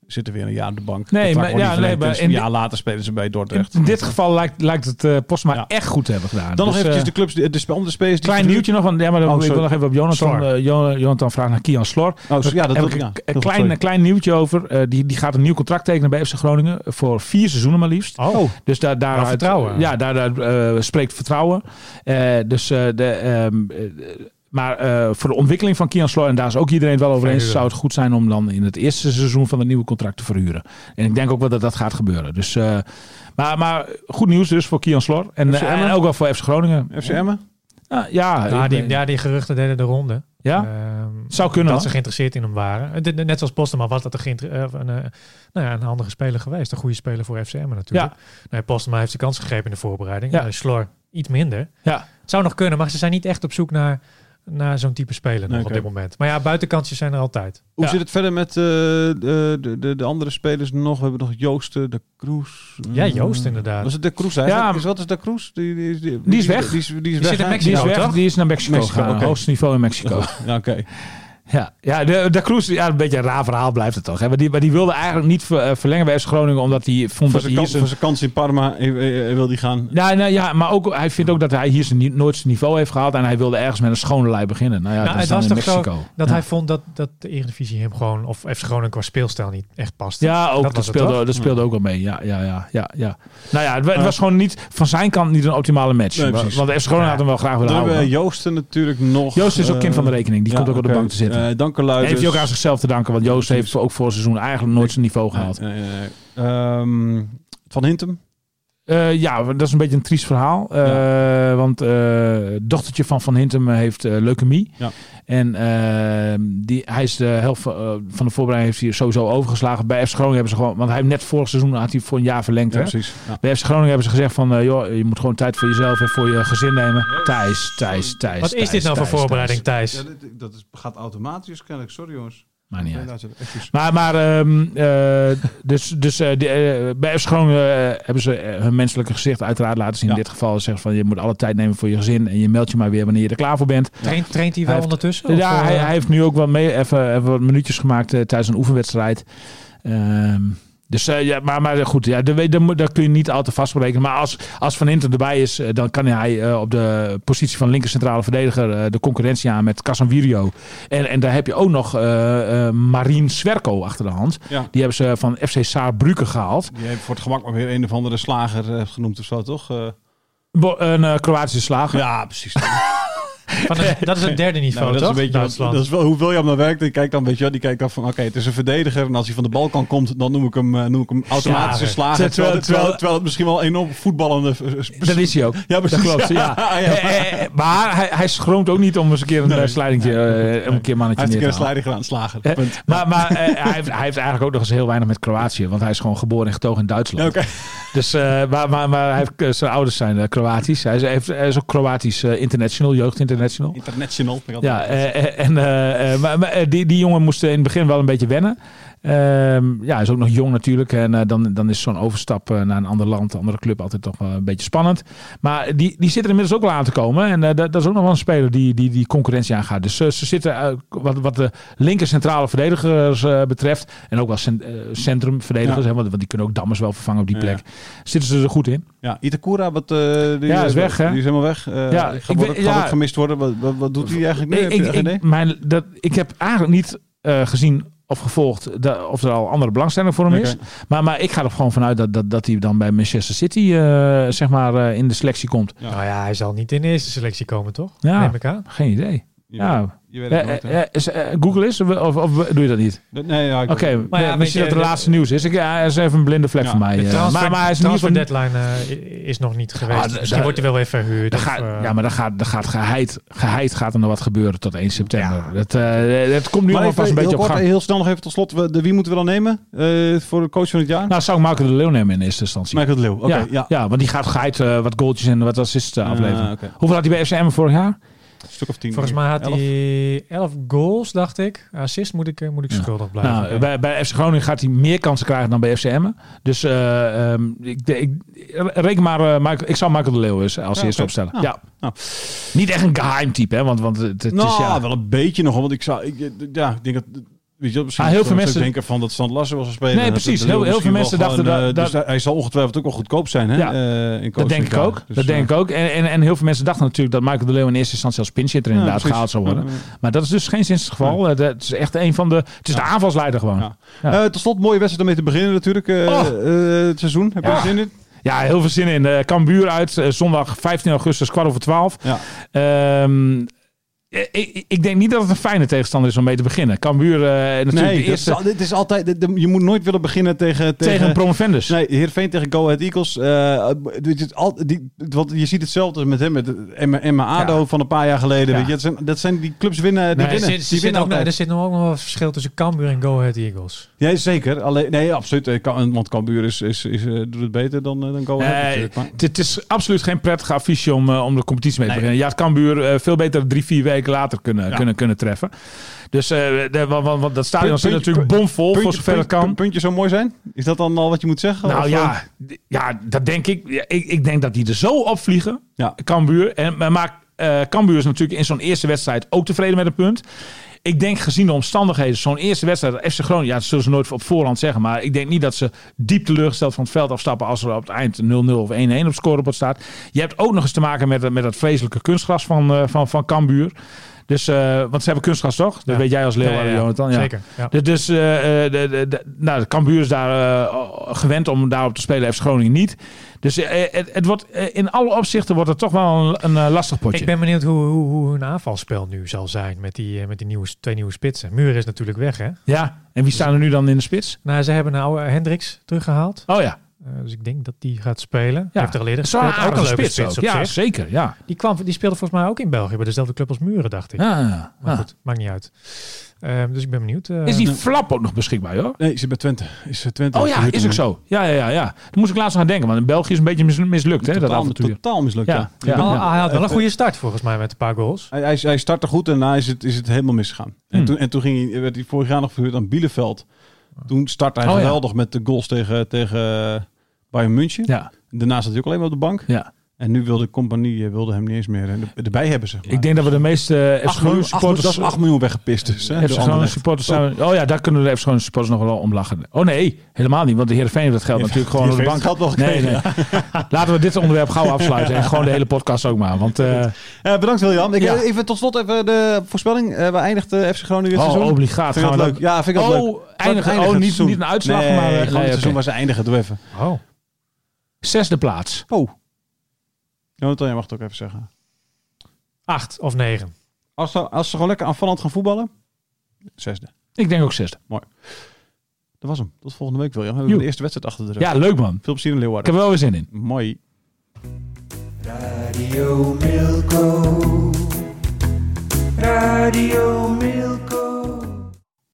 Speaker 2: Zitten weer een jaar op de bank.
Speaker 3: Nee, maar-
Speaker 2: Contract wordt
Speaker 3: ja,
Speaker 2: niet verlengd.
Speaker 3: nee, maar
Speaker 2: Dus
Speaker 3: in
Speaker 2: een
Speaker 3: di-
Speaker 2: jaar later spelen ze bij
Speaker 3: In,
Speaker 2: Dordrecht.
Speaker 3: in dit geval lijkt, lijkt het eh, Postma
Speaker 2: Ja.
Speaker 3: echt goed te hebben gedaan.
Speaker 2: Dan nog
Speaker 3: Dus,
Speaker 2: eventjes
Speaker 3: eh,
Speaker 2: de clubs, de, de, spe- om de spelers die
Speaker 3: Klein
Speaker 2: verhuurd-
Speaker 3: nieuwtje nog, want ja, maar dan
Speaker 2: Oh,
Speaker 3: ik wil
Speaker 2: sorry.
Speaker 3: nog even op Jonathan,
Speaker 4: Slor.
Speaker 3: eh, Jon- Jonathan vragen naar Kian Slor.
Speaker 2: Oh, zo- ja,
Speaker 3: Heb
Speaker 2: dat wil
Speaker 3: ik
Speaker 2: ik
Speaker 3: een,
Speaker 2: ja,
Speaker 3: een
Speaker 2: heel goed,
Speaker 3: klein, een klein nieuwtje over. Eh, die, die gaat een nieuw contract tekenen bij FC Groningen. eh, Voor vier seizoenen maar liefst.
Speaker 4: Oh,
Speaker 3: Dus daar, daar
Speaker 4: Nou, vertrouwen.
Speaker 3: Ja, daar, daar eh, spreekt vertrouwen. Eh, dus eh, de. ehm, eh, maar eh, voor de ontwikkeling van Kian Sloor, en daar is ook iedereen het wel over eens,
Speaker 4: Verhuren.
Speaker 3: zou het goed zijn om dan in het eerste seizoen van het nieuwe contract te verhuren. En ik denk ook wel dat dat gaat gebeuren. Dus, eh, maar, maar goed nieuws dus voor Kian Sloor. En,
Speaker 2: FC
Speaker 3: eh, en
Speaker 2: Emmen?
Speaker 3: ook wel voor FC Groningen.
Speaker 2: FC Emmen?
Speaker 3: Ah, ja,
Speaker 4: ja,
Speaker 3: ik
Speaker 4: die,
Speaker 3: ben-
Speaker 4: ja, die geruchten deden de ronde.
Speaker 3: ja?
Speaker 4: Ehm,
Speaker 3: zou kunnen.
Speaker 4: dat ze
Speaker 3: hoor.
Speaker 4: geïnteresseerd in hem waren. Eh, dit- Net zoals Postema was dat een, geïnter- eh, een, eh, nou ja, een handige speler geweest. Een goede speler voor FCM natuurlijk.
Speaker 3: Ja.
Speaker 4: Nee, Postema heeft de kans gegeven in de voorbereiding.
Speaker 3: Ja.
Speaker 4: Eh, Slor iets minder.
Speaker 3: Ja.
Speaker 4: Het zou nog kunnen, maar ze zijn niet echt op zoek naar, naar zo'n type speler nog
Speaker 2: Nee,
Speaker 4: op
Speaker 2: oké.
Speaker 4: dit moment. Maar ja, buitenkantjes zijn er altijd.
Speaker 2: Hoe
Speaker 3: Ja.
Speaker 2: zit het verder met eh, de, de, de, de andere spelers nog? We hebben nog Joosten, de Kroes.
Speaker 4: Ja, Joost
Speaker 2: Mm.
Speaker 4: inderdaad.
Speaker 2: Was het de Kroes eigenlijk?
Speaker 3: Ja.
Speaker 2: Is, wat is de Kroes? Die, die,
Speaker 3: Die is weg.
Speaker 2: Die is, die is weg.
Speaker 4: zit in
Speaker 2: hè?
Speaker 3: Die
Speaker 4: Mexico.
Speaker 3: is
Speaker 4: Nou,
Speaker 3: weg,
Speaker 4: toch?
Speaker 3: die is naar Mexico,
Speaker 2: Mexico,
Speaker 3: gegaan.
Speaker 2: oké.
Speaker 3: Hoogste niveau in Mexico.
Speaker 2: Ja, oké.
Speaker 3: Ja, ja de, de Kroes, ja, een beetje een raar verhaal blijft het toch. Hè? Maar, die, maar die wilde eigenlijk niet ver- eh, verlengen bij FC Groningen, omdat hij vond
Speaker 2: Voor
Speaker 3: dat hij
Speaker 2: zijn
Speaker 3: hier
Speaker 2: kans,
Speaker 3: zijn...
Speaker 2: voor zijn kans in Parma eh, eh, eh, wil die gaan.
Speaker 3: Nou, nou ja, maar ook, hij vindt ook dat hij hier zijn, ni- nooit zijn niveau heeft gehaald en hij wilde ergens met een schone lei beginnen. Nou ja,
Speaker 4: Nou,
Speaker 3: dat is
Speaker 4: het
Speaker 3: dan
Speaker 4: was
Speaker 3: in
Speaker 4: toch zo
Speaker 3: Mexico.
Speaker 4: Dat
Speaker 3: ja.
Speaker 4: hij vond dat, dat de Eredivisie hem gewoon, of FC Groningen qua speelstijl niet echt past.
Speaker 3: Ja, ook,
Speaker 4: was
Speaker 3: dat,
Speaker 4: het,
Speaker 3: speelde,
Speaker 4: toch?
Speaker 3: dat speelde ook al mee. Ja, ja, ja, ja, ja. Nou ja, het, wa- het was gewoon niet, van zijn kant niet een optimale match.
Speaker 2: Nee,
Speaker 3: want
Speaker 2: precies.
Speaker 3: want FC Groningen had hem wel graag willen
Speaker 2: Dan hebben we
Speaker 3: houden.
Speaker 2: eh, Joosten natuurlijk nog.
Speaker 3: Joost is ook
Speaker 2: eh,
Speaker 3: kind van de rekening. Die
Speaker 2: ja,
Speaker 3: komt ook op
Speaker 2: oké.
Speaker 3: de bank te zitten.
Speaker 2: Eh, Dank u luid,
Speaker 3: heeft hij
Speaker 2: dus-
Speaker 3: ook aan zichzelf te danken, want Joost
Speaker 2: Precies.
Speaker 3: heeft ook voor het seizoen eigenlijk nooit zijn niveau gehaald.
Speaker 2: Nee, nee, nee. Eh, Ehm, van Hintem.
Speaker 3: Eh, ja, dat is een beetje een triest verhaal. Eh, Want eh, het dochtertje van Van Hintem heeft eh, leukemie.
Speaker 2: Ja.
Speaker 3: En eh, die, hij is de helft van, eh, van de voorbereiding heeft hij sowieso overgeslagen. Bij FC Groningen hebben ze gewoon... Want hij heeft net vorig seizoen had hij voor een jaar verlengd.
Speaker 2: Ja,
Speaker 3: hè?
Speaker 2: precies. Ja.
Speaker 3: Bij FC Groningen hebben ze gezegd van... eh, joh, je moet gewoon tijd voor jezelf en voor je gezin nemen. Thijs, Thijs, Thijs.
Speaker 4: Wat is
Speaker 3: Thijs,
Speaker 4: dit nou voor
Speaker 3: Thijs,
Speaker 4: voorbereiding,
Speaker 3: Thijs.
Speaker 4: Thijs?
Speaker 2: dat, gaat automatisch kennelijk. Sorry jongens.
Speaker 3: Maakt niet uit. Maar, maar ehm, eh, dus, dus eh, die, eh, bij FC Groningen eh, hebben ze eh, hun menselijke gezicht uiteraard laten zien.
Speaker 2: Ja.
Speaker 3: In dit geval zeggen ze van je moet alle tijd nemen voor je gezin en je meldt je maar weer wanneer je er klaar voor bent.
Speaker 4: Traint, traint hij wel
Speaker 3: Hij heeft-
Speaker 4: ondertussen? Of,
Speaker 3: ja,
Speaker 4: eh,
Speaker 3: hij, hij heeft nu ook wel mee even, even wat minuutjes gemaakt eh, tijdens een oefenwedstrijd. Ehm, dus eh, ja, maar, maar goed, ja, daar, weet- daar, moet- daar kun je niet al te vast op rekenen. Maar als, als Van Inter erbij is, eh, dan kan hij eh, op de positie van linker centrale verdediger eh, de concurrentie aan met Casanvirio. En, en daar heb je ook nog eh eh Marien Swerko achter de hand.
Speaker 2: Ja.
Speaker 3: Die hebben ze van FC Saarbrücken gehaald.
Speaker 2: Die heeft voor het gemak maar weer een of andere slager eh, genoemd of zo, toch? Eh,
Speaker 3: Bo- een eh, Kroatische slager.
Speaker 2: ja, precies.
Speaker 4: Van het- dat is het derde niveau,
Speaker 2: Nou, dat, is
Speaker 4: toch?
Speaker 2: een beetje, wat-
Speaker 4: Duitsland.
Speaker 2: dat is wel hoe William dan werkt. Die kijkt dan, weet je, wel, die kijkt dan van, oké, het is een verdediger. En als hij van de bal kan komt, dan noem ik hem, eh, noem ik hem automatisch een
Speaker 3: Slager.
Speaker 2: slager. Terwijl,
Speaker 3: Terwijl-
Speaker 2: terwijl, terwijl het misschien wel een enorm voetballende... eh,
Speaker 3: Dat is hij ook.
Speaker 2: Ja, precies. Ah,
Speaker 3: Dat klopt, ja.
Speaker 2: Ja, ja.
Speaker 3: Eh, eh, maar hij, hij schroomt ook niet om eens een keer een eh, slidingtje, eh, om een keer mannetje
Speaker 2: Hij heeft een
Speaker 3: neer
Speaker 2: keer
Speaker 3: te
Speaker 2: een
Speaker 3: halen.
Speaker 2: slijding gedaan, slager.
Speaker 3: Eh,
Speaker 2: Punt.
Speaker 3: maar maar eh, hij, heeft, hij heeft eigenlijk ook nog eens heel weinig met Kroatië. Want hij is gewoon geboren en getogen in
Speaker 2: Ja,
Speaker 3: Duitsland.
Speaker 2: oké.
Speaker 3: Dus, eh, maar, maar, maar hij heeft, eh, zijn ouders zijn eh, Kroatisch. Hij is, hij heeft, hij is ook Kroatisch eh, international, jeugdinternational.
Speaker 2: International. vind ik altijd-
Speaker 3: Ja, eh, eh, en, eh, eh, maar, maar, eh, die, die jongen moest in het begin wel een beetje wennen. Ehm, ja, hij is ook nog jong natuurlijk. En eh, dan, dan is zo'n overstap eh, naar een ander land, een andere club altijd toch wel een beetje spannend. Maar die, die zit er inmiddels ook wel aan te komen. En eh, dat, dat is ook nog wel een speler die die, die concurrentie aangaat. Dus eh, ze zitten, eh, wat, wat de linker centrale verdedigers eh, betreft. En ook wel cent, eh, centrumverdedigers,
Speaker 2: Ja.
Speaker 3: hè, want, want die kunnen ook Dammers wel vervangen op die
Speaker 2: Ja.
Speaker 3: plek. Zitten ze er goed in?
Speaker 2: Ja, Itakura, wat, eh, die,
Speaker 3: Ja, is weg, hè?
Speaker 2: Die is helemaal weg. Eh,
Speaker 3: Ja,
Speaker 2: gaat
Speaker 3: ik
Speaker 2: wordt-
Speaker 3: weet-
Speaker 2: gaat
Speaker 3: ja.
Speaker 2: ook gemist worden. Wat, wat, wat doet hij eigenlijk nu?
Speaker 3: Nee,
Speaker 2: Heb je
Speaker 3: ik,
Speaker 2: geen
Speaker 3: ik,
Speaker 2: idee?
Speaker 3: mijn, dat, ik heb eigenlijk niet eh, gezien of gevolgd da- of er al andere belangstelling voor hem is.
Speaker 2: Oké.
Speaker 3: Maar, maar ik ga er gewoon vanuit dat, dat, dat hij dan bij Manchester City eh, zeg maar, eh, in de selectie komt.
Speaker 4: Nou ja, hij zal niet in de eerste selectie komen, toch?
Speaker 3: Ja.
Speaker 4: Neem ik aan.
Speaker 3: Geen idee.
Speaker 2: Je
Speaker 3: Ja.
Speaker 2: weet- Je weet het
Speaker 3: Eh,
Speaker 2: nooit, hè?
Speaker 3: eh, eh, is, eh, Google is of, of, of doe je dat niet?
Speaker 2: Nee, ja, ik-
Speaker 3: Oké,
Speaker 4: Maar ja,
Speaker 3: eh,
Speaker 4: weet
Speaker 3: misschien
Speaker 4: je,
Speaker 3: dat het
Speaker 4: de-
Speaker 3: laatste nieuws is. Ik, ja, is even een blinde vlek
Speaker 2: Ja,
Speaker 3: voor mij.
Speaker 4: De
Speaker 3: eh.
Speaker 4: transfer,
Speaker 3: maar, maar hij is in ieder
Speaker 4: transfer
Speaker 3: geval Ah,
Speaker 4: deadline eh, i- is nog niet geweest.
Speaker 3: d-
Speaker 4: Misschien
Speaker 3: daar-
Speaker 4: wordt hij wel weer verhuurd.
Speaker 3: Er
Speaker 4: of,
Speaker 3: gaat,
Speaker 4: eh,
Speaker 3: ja, maar dan gaat, dan gaat geheid, geheid gaat er nog wat gebeuren tot 1 september. Dat, eh, dat komt nu allemaal
Speaker 2: Maar even
Speaker 3: vast een
Speaker 2: heel,
Speaker 3: beetje op
Speaker 2: kort,
Speaker 3: gang.
Speaker 2: heel snel nog even tot slot. We- De, wie moeten we dan nemen eh, voor de coach van het jaar?
Speaker 3: Nou, zou ik Marco de Leeuw nemen in eerste instantie.
Speaker 2: Michael de Leeuw. Oké,
Speaker 3: ja, ja.
Speaker 2: ja.
Speaker 3: want die gaat geit eh, wat goaltjes en wat assists eh, afleveren.
Speaker 2: Ah, oké.
Speaker 3: Hoeveel had hij bij FCM vorig jaar?
Speaker 2: Een stuk of tien.
Speaker 4: Volgens mij had
Speaker 2: Elf.
Speaker 4: hij 11 goals, dacht ik. Assist moet ik, eh, moet ik
Speaker 3: Ja.
Speaker 4: schuldig blijven.
Speaker 3: nou, bij, bij FC Groningen gaat hij meer kansen krijgen dan bij FCM. Dus eh, ehm, ik, de- ik, reken maar, eh, Michael- ik zou Michael de Leeuw eens als
Speaker 2: Ja,
Speaker 3: eerste
Speaker 2: oké.
Speaker 3: opstellen.
Speaker 2: Nou,
Speaker 3: ja.
Speaker 2: nou.
Speaker 3: Niet echt een geheim type, hè? Want, want het, het
Speaker 2: nou,
Speaker 3: is ja.
Speaker 2: wel een beetje nog. Want ik zou... Ik, ja, ik denk dat... Weet je, wel, misschien
Speaker 3: Ah, heel
Speaker 2: zou
Speaker 3: veel
Speaker 2: ik
Speaker 3: mensen-
Speaker 2: denken van dat Stand Lassen was een speler.
Speaker 3: Nee,
Speaker 2: Dat-
Speaker 3: precies.
Speaker 2: dat de Leeuw
Speaker 3: Heel- heel veel
Speaker 2: misschien wel
Speaker 3: mensen
Speaker 2: gewoon,
Speaker 3: dachten
Speaker 2: eh,
Speaker 3: dat-
Speaker 2: dus hij- Hij zal ongetwijfeld ook wel goedkoop zijn, hè?
Speaker 3: Ja.
Speaker 2: eh, in
Speaker 3: Dat denk ik ook. dat
Speaker 2: eh,
Speaker 3: denk ik ook. En, en, en heel veel mensen dachten natuurlijk dat Michael de Leeuw in eerste instantie als pinchitter inderdaad gehaald zou worden. Maar dat is dus geen sinds het geval. Eh, dat is echt een van de. Het is de aanvalsleider gewoon.
Speaker 2: Ja.
Speaker 3: Ja.
Speaker 2: Eh, tot slot, mooie wedstrijd om mee te beginnen natuurlijk. eh,
Speaker 3: Oh.
Speaker 2: eh, het seizoen. Heb je
Speaker 3: Ja.
Speaker 2: er zin in?
Speaker 3: heel veel zin in. Eh, Cambuur uit. eh, zondag 15 augustus, kwart over 12.
Speaker 2: Ja.
Speaker 3: Ehm, eh, ik, ik denk niet dat het een fijne tegenstander is om mee te beginnen. Cambuur eh, natuurlijk
Speaker 2: Nee,
Speaker 3: de eerste
Speaker 2: dat is al- dit is altijd, dit- je moet nooit willen beginnen tegen...
Speaker 3: tegen, een promovendus.
Speaker 2: Nee, Heerenveen tegen Go Ahead Eagles. eh, weet je, het al, die, want je ziet hetzelfde met hem, met Emma, Emma ADO van een paar jaar geleden.
Speaker 3: Ja.
Speaker 2: Weet je, dat, zijn, dat zijn die clubs winnen. Die
Speaker 3: Nee,
Speaker 4: er,
Speaker 2: winnen,
Speaker 4: zit, er
Speaker 2: die
Speaker 4: zit
Speaker 2: winnen
Speaker 4: ook, nog-
Speaker 2: altijd.
Speaker 4: er zit nog ook nog wel een verschil tussen Cambuur en Go Ahead Eagles.
Speaker 2: Ja, zeker. Alleen, nee, absoluut. Eh, Ka- Want Cambuur is, is, is, eh, doet het beter dan, eh, dan Go Ahead
Speaker 3: Nee,
Speaker 2: natuurlijk. Maar,
Speaker 3: het, het is absoluut geen prettige affiche om, eh, om de competitie mee te
Speaker 2: Nee.
Speaker 3: beginnen. Ja, het Cambuur eh, veel beter drie, vier weken later kunnen,
Speaker 2: Ja.
Speaker 3: kunnen, kunnen treffen. Dus eh, de, want, want- want dat stadion zit
Speaker 2: Puntje-
Speaker 3: natuurlijk bomvol, voor
Speaker 2: puntje,
Speaker 3: zover het
Speaker 2: puntje-
Speaker 3: kan.
Speaker 2: puntje zo mooi zijn? Is dat dan al wat je moet zeggen?
Speaker 3: Nou
Speaker 2: Of, eh,
Speaker 3: ja, d- ja, dat denk ik. Ja, ik. Ik denk dat die er zo op vliegen,
Speaker 2: Ja.
Speaker 3: Cambuur. En, maar- maar eh Cambuur is natuurlijk in zo'n eerste wedstrijd ook tevreden met een punt. Ik denk gezien de omstandigheden, zo'n eerste wedstrijd, FC Groningen, ja, dat zullen ze nooit op voorhand zeggen, maar ik denk niet dat ze diep teleurgesteld van het veld afstappen als er op het eind 0-0 of 1-1 op scorebord staat. Je hebt ook nog eens te maken met, met dat vreselijke kunstgras van, eh, van, van Cambuur. Dus, eh, want ze hebben kunstgras toch? Dat
Speaker 4: Ja.
Speaker 3: weet jij als Leeuwarden,
Speaker 4: Ja, ja, ja.
Speaker 3: Jonathan. Ja.
Speaker 4: Zeker. Ja.
Speaker 3: Dus, dus eh, eh, de, de, de, nou, de Cambuur is daar eh, gewend om daarop te spelen. heeft Groningen niet. Dus eh, het, het wordt, eh, in alle opzichten wordt het toch wel een, een eh, lastig potje.
Speaker 4: Ik ben benieuwd hoe, hoe, hoe hun aanvalspel nu zal zijn met die, eh, met die nieuwe, twee nieuwe spitsen. Muur is natuurlijk weg, hè?
Speaker 3: Ja, en wie staan er nu dan in de spits?
Speaker 4: Nou, ze hebben nou eh, Hendricks teruggehaald.
Speaker 3: Oh ja,
Speaker 4: Eh, dus ik denk dat die gaat spelen. Hij
Speaker 3: Ja.
Speaker 4: Heeft er al eerder
Speaker 3: dat is wel
Speaker 4: gespeeld.
Speaker 3: een aardige
Speaker 4: leuke
Speaker 3: spits. ook.
Speaker 4: op
Speaker 3: Ja,
Speaker 4: zich.
Speaker 3: zeker. Ja.
Speaker 4: Die, kwam, die speelde volgens mij ook in België bij dezelfde club als Muren, dacht ik.
Speaker 3: Ja, ja.
Speaker 4: Maar goed, maakt niet uit. Ehm, dus ik ben benieuwd. eh,
Speaker 3: Is die flap ook nog beschikbaar, hoor?
Speaker 2: Nee, zit bij Twente. Is eh, Twente
Speaker 3: Oh ja,
Speaker 2: verhuurd
Speaker 3: is
Speaker 2: hem.
Speaker 3: ook zo. Ja, ja, ja, ja. Daar moest ik laatst nog aan denken, want in België is een beetje mis- mislukt, hè, dat
Speaker 2: Totaal,
Speaker 3: avontuur.
Speaker 2: totaal mislukt.
Speaker 3: Ja,
Speaker 2: ja.
Speaker 3: ja.
Speaker 4: Ah, ah, hij had wel een goede start volgens mij met een paar goals.
Speaker 2: Hij, hij, hij startte goed en daarna is het, is het helemaal misgegaan. En,
Speaker 3: Hmm.
Speaker 2: toen, en toen ging hij, werd hij vorig jaar nog verhuurd aan Bielefeld. Toen startte hij
Speaker 3: Oh, ja.
Speaker 2: geweldig met de goals tegen, tegen Bayern München.
Speaker 3: Ja,
Speaker 2: Daarna zat hij ook alleen maar op de bank.
Speaker 3: ja.
Speaker 2: En nu wilde de compagnie eh, wilde hem niet eens meer eh, er- erbij hebben. Zeg maar.
Speaker 3: Ik denk dat we de meeste uh,
Speaker 2: Acht miljoen, acht miljoen- dat
Speaker 3: supporters
Speaker 2: is 8 miljoen weggepist. Dus, hè,
Speaker 3: FC
Speaker 2: door
Speaker 3: Groningen
Speaker 2: Anderlecht.
Speaker 3: supporters zijn... Oh ja, daar kunnen de FC Groningen supporters nog wel om lachen. Oh nee, helemaal niet. Want de Heerenveen heeft dat geld natuurlijk gewoon op de
Speaker 2: Die
Speaker 3: bank.
Speaker 2: heeft het geld wel
Speaker 3: Nee,
Speaker 2: gekregen.
Speaker 3: nee. Laten we dit onderwerp gauw afsluiten. En gewoon de hele podcast ook maar. Want eh
Speaker 2: Eh, bedankt William. Ik,
Speaker 3: Ja.
Speaker 2: Even tot slot even de voorspelling. Eh waar eindigt eh, FC Groningen dit
Speaker 3: oh,
Speaker 2: seizoen?
Speaker 3: obligaat
Speaker 2: Vind
Speaker 3: gaan
Speaker 2: je
Speaker 3: we
Speaker 2: dat
Speaker 3: dat-
Speaker 2: leuk? Ja, vind ik dat leuk.
Speaker 3: Oh, eindigen.
Speaker 2: Eindigt
Speaker 3: oh niet,
Speaker 2: het seizoen?
Speaker 3: niet een uitslag,
Speaker 2: nee,
Speaker 3: maar... eh,
Speaker 2: gewoon
Speaker 3: nee,
Speaker 2: het seizoen
Speaker 3: oké.
Speaker 2: waar ze eindigen. Doe even.
Speaker 4: Oh,
Speaker 3: Zesde plaats.
Speaker 2: Oh. Jonathan, jij mag het ook even zeggen.
Speaker 4: Acht of negen.
Speaker 2: Als ze, als ze gewoon lekker aanvallend gaan voetballen, zesde.
Speaker 3: Ik denk ook zesde.
Speaker 2: Dat was hem. Tot volgende week, William. We hebben
Speaker 3: Joe.
Speaker 2: de eerste wedstrijd achter de rug.
Speaker 3: Ja, leuk man.
Speaker 2: Veel plezier in
Speaker 3: Ik
Speaker 2: Leeuwarden.
Speaker 3: heb er wel weer zin in.
Speaker 2: Mooi.
Speaker 1: Radio Milko. Radio Milko.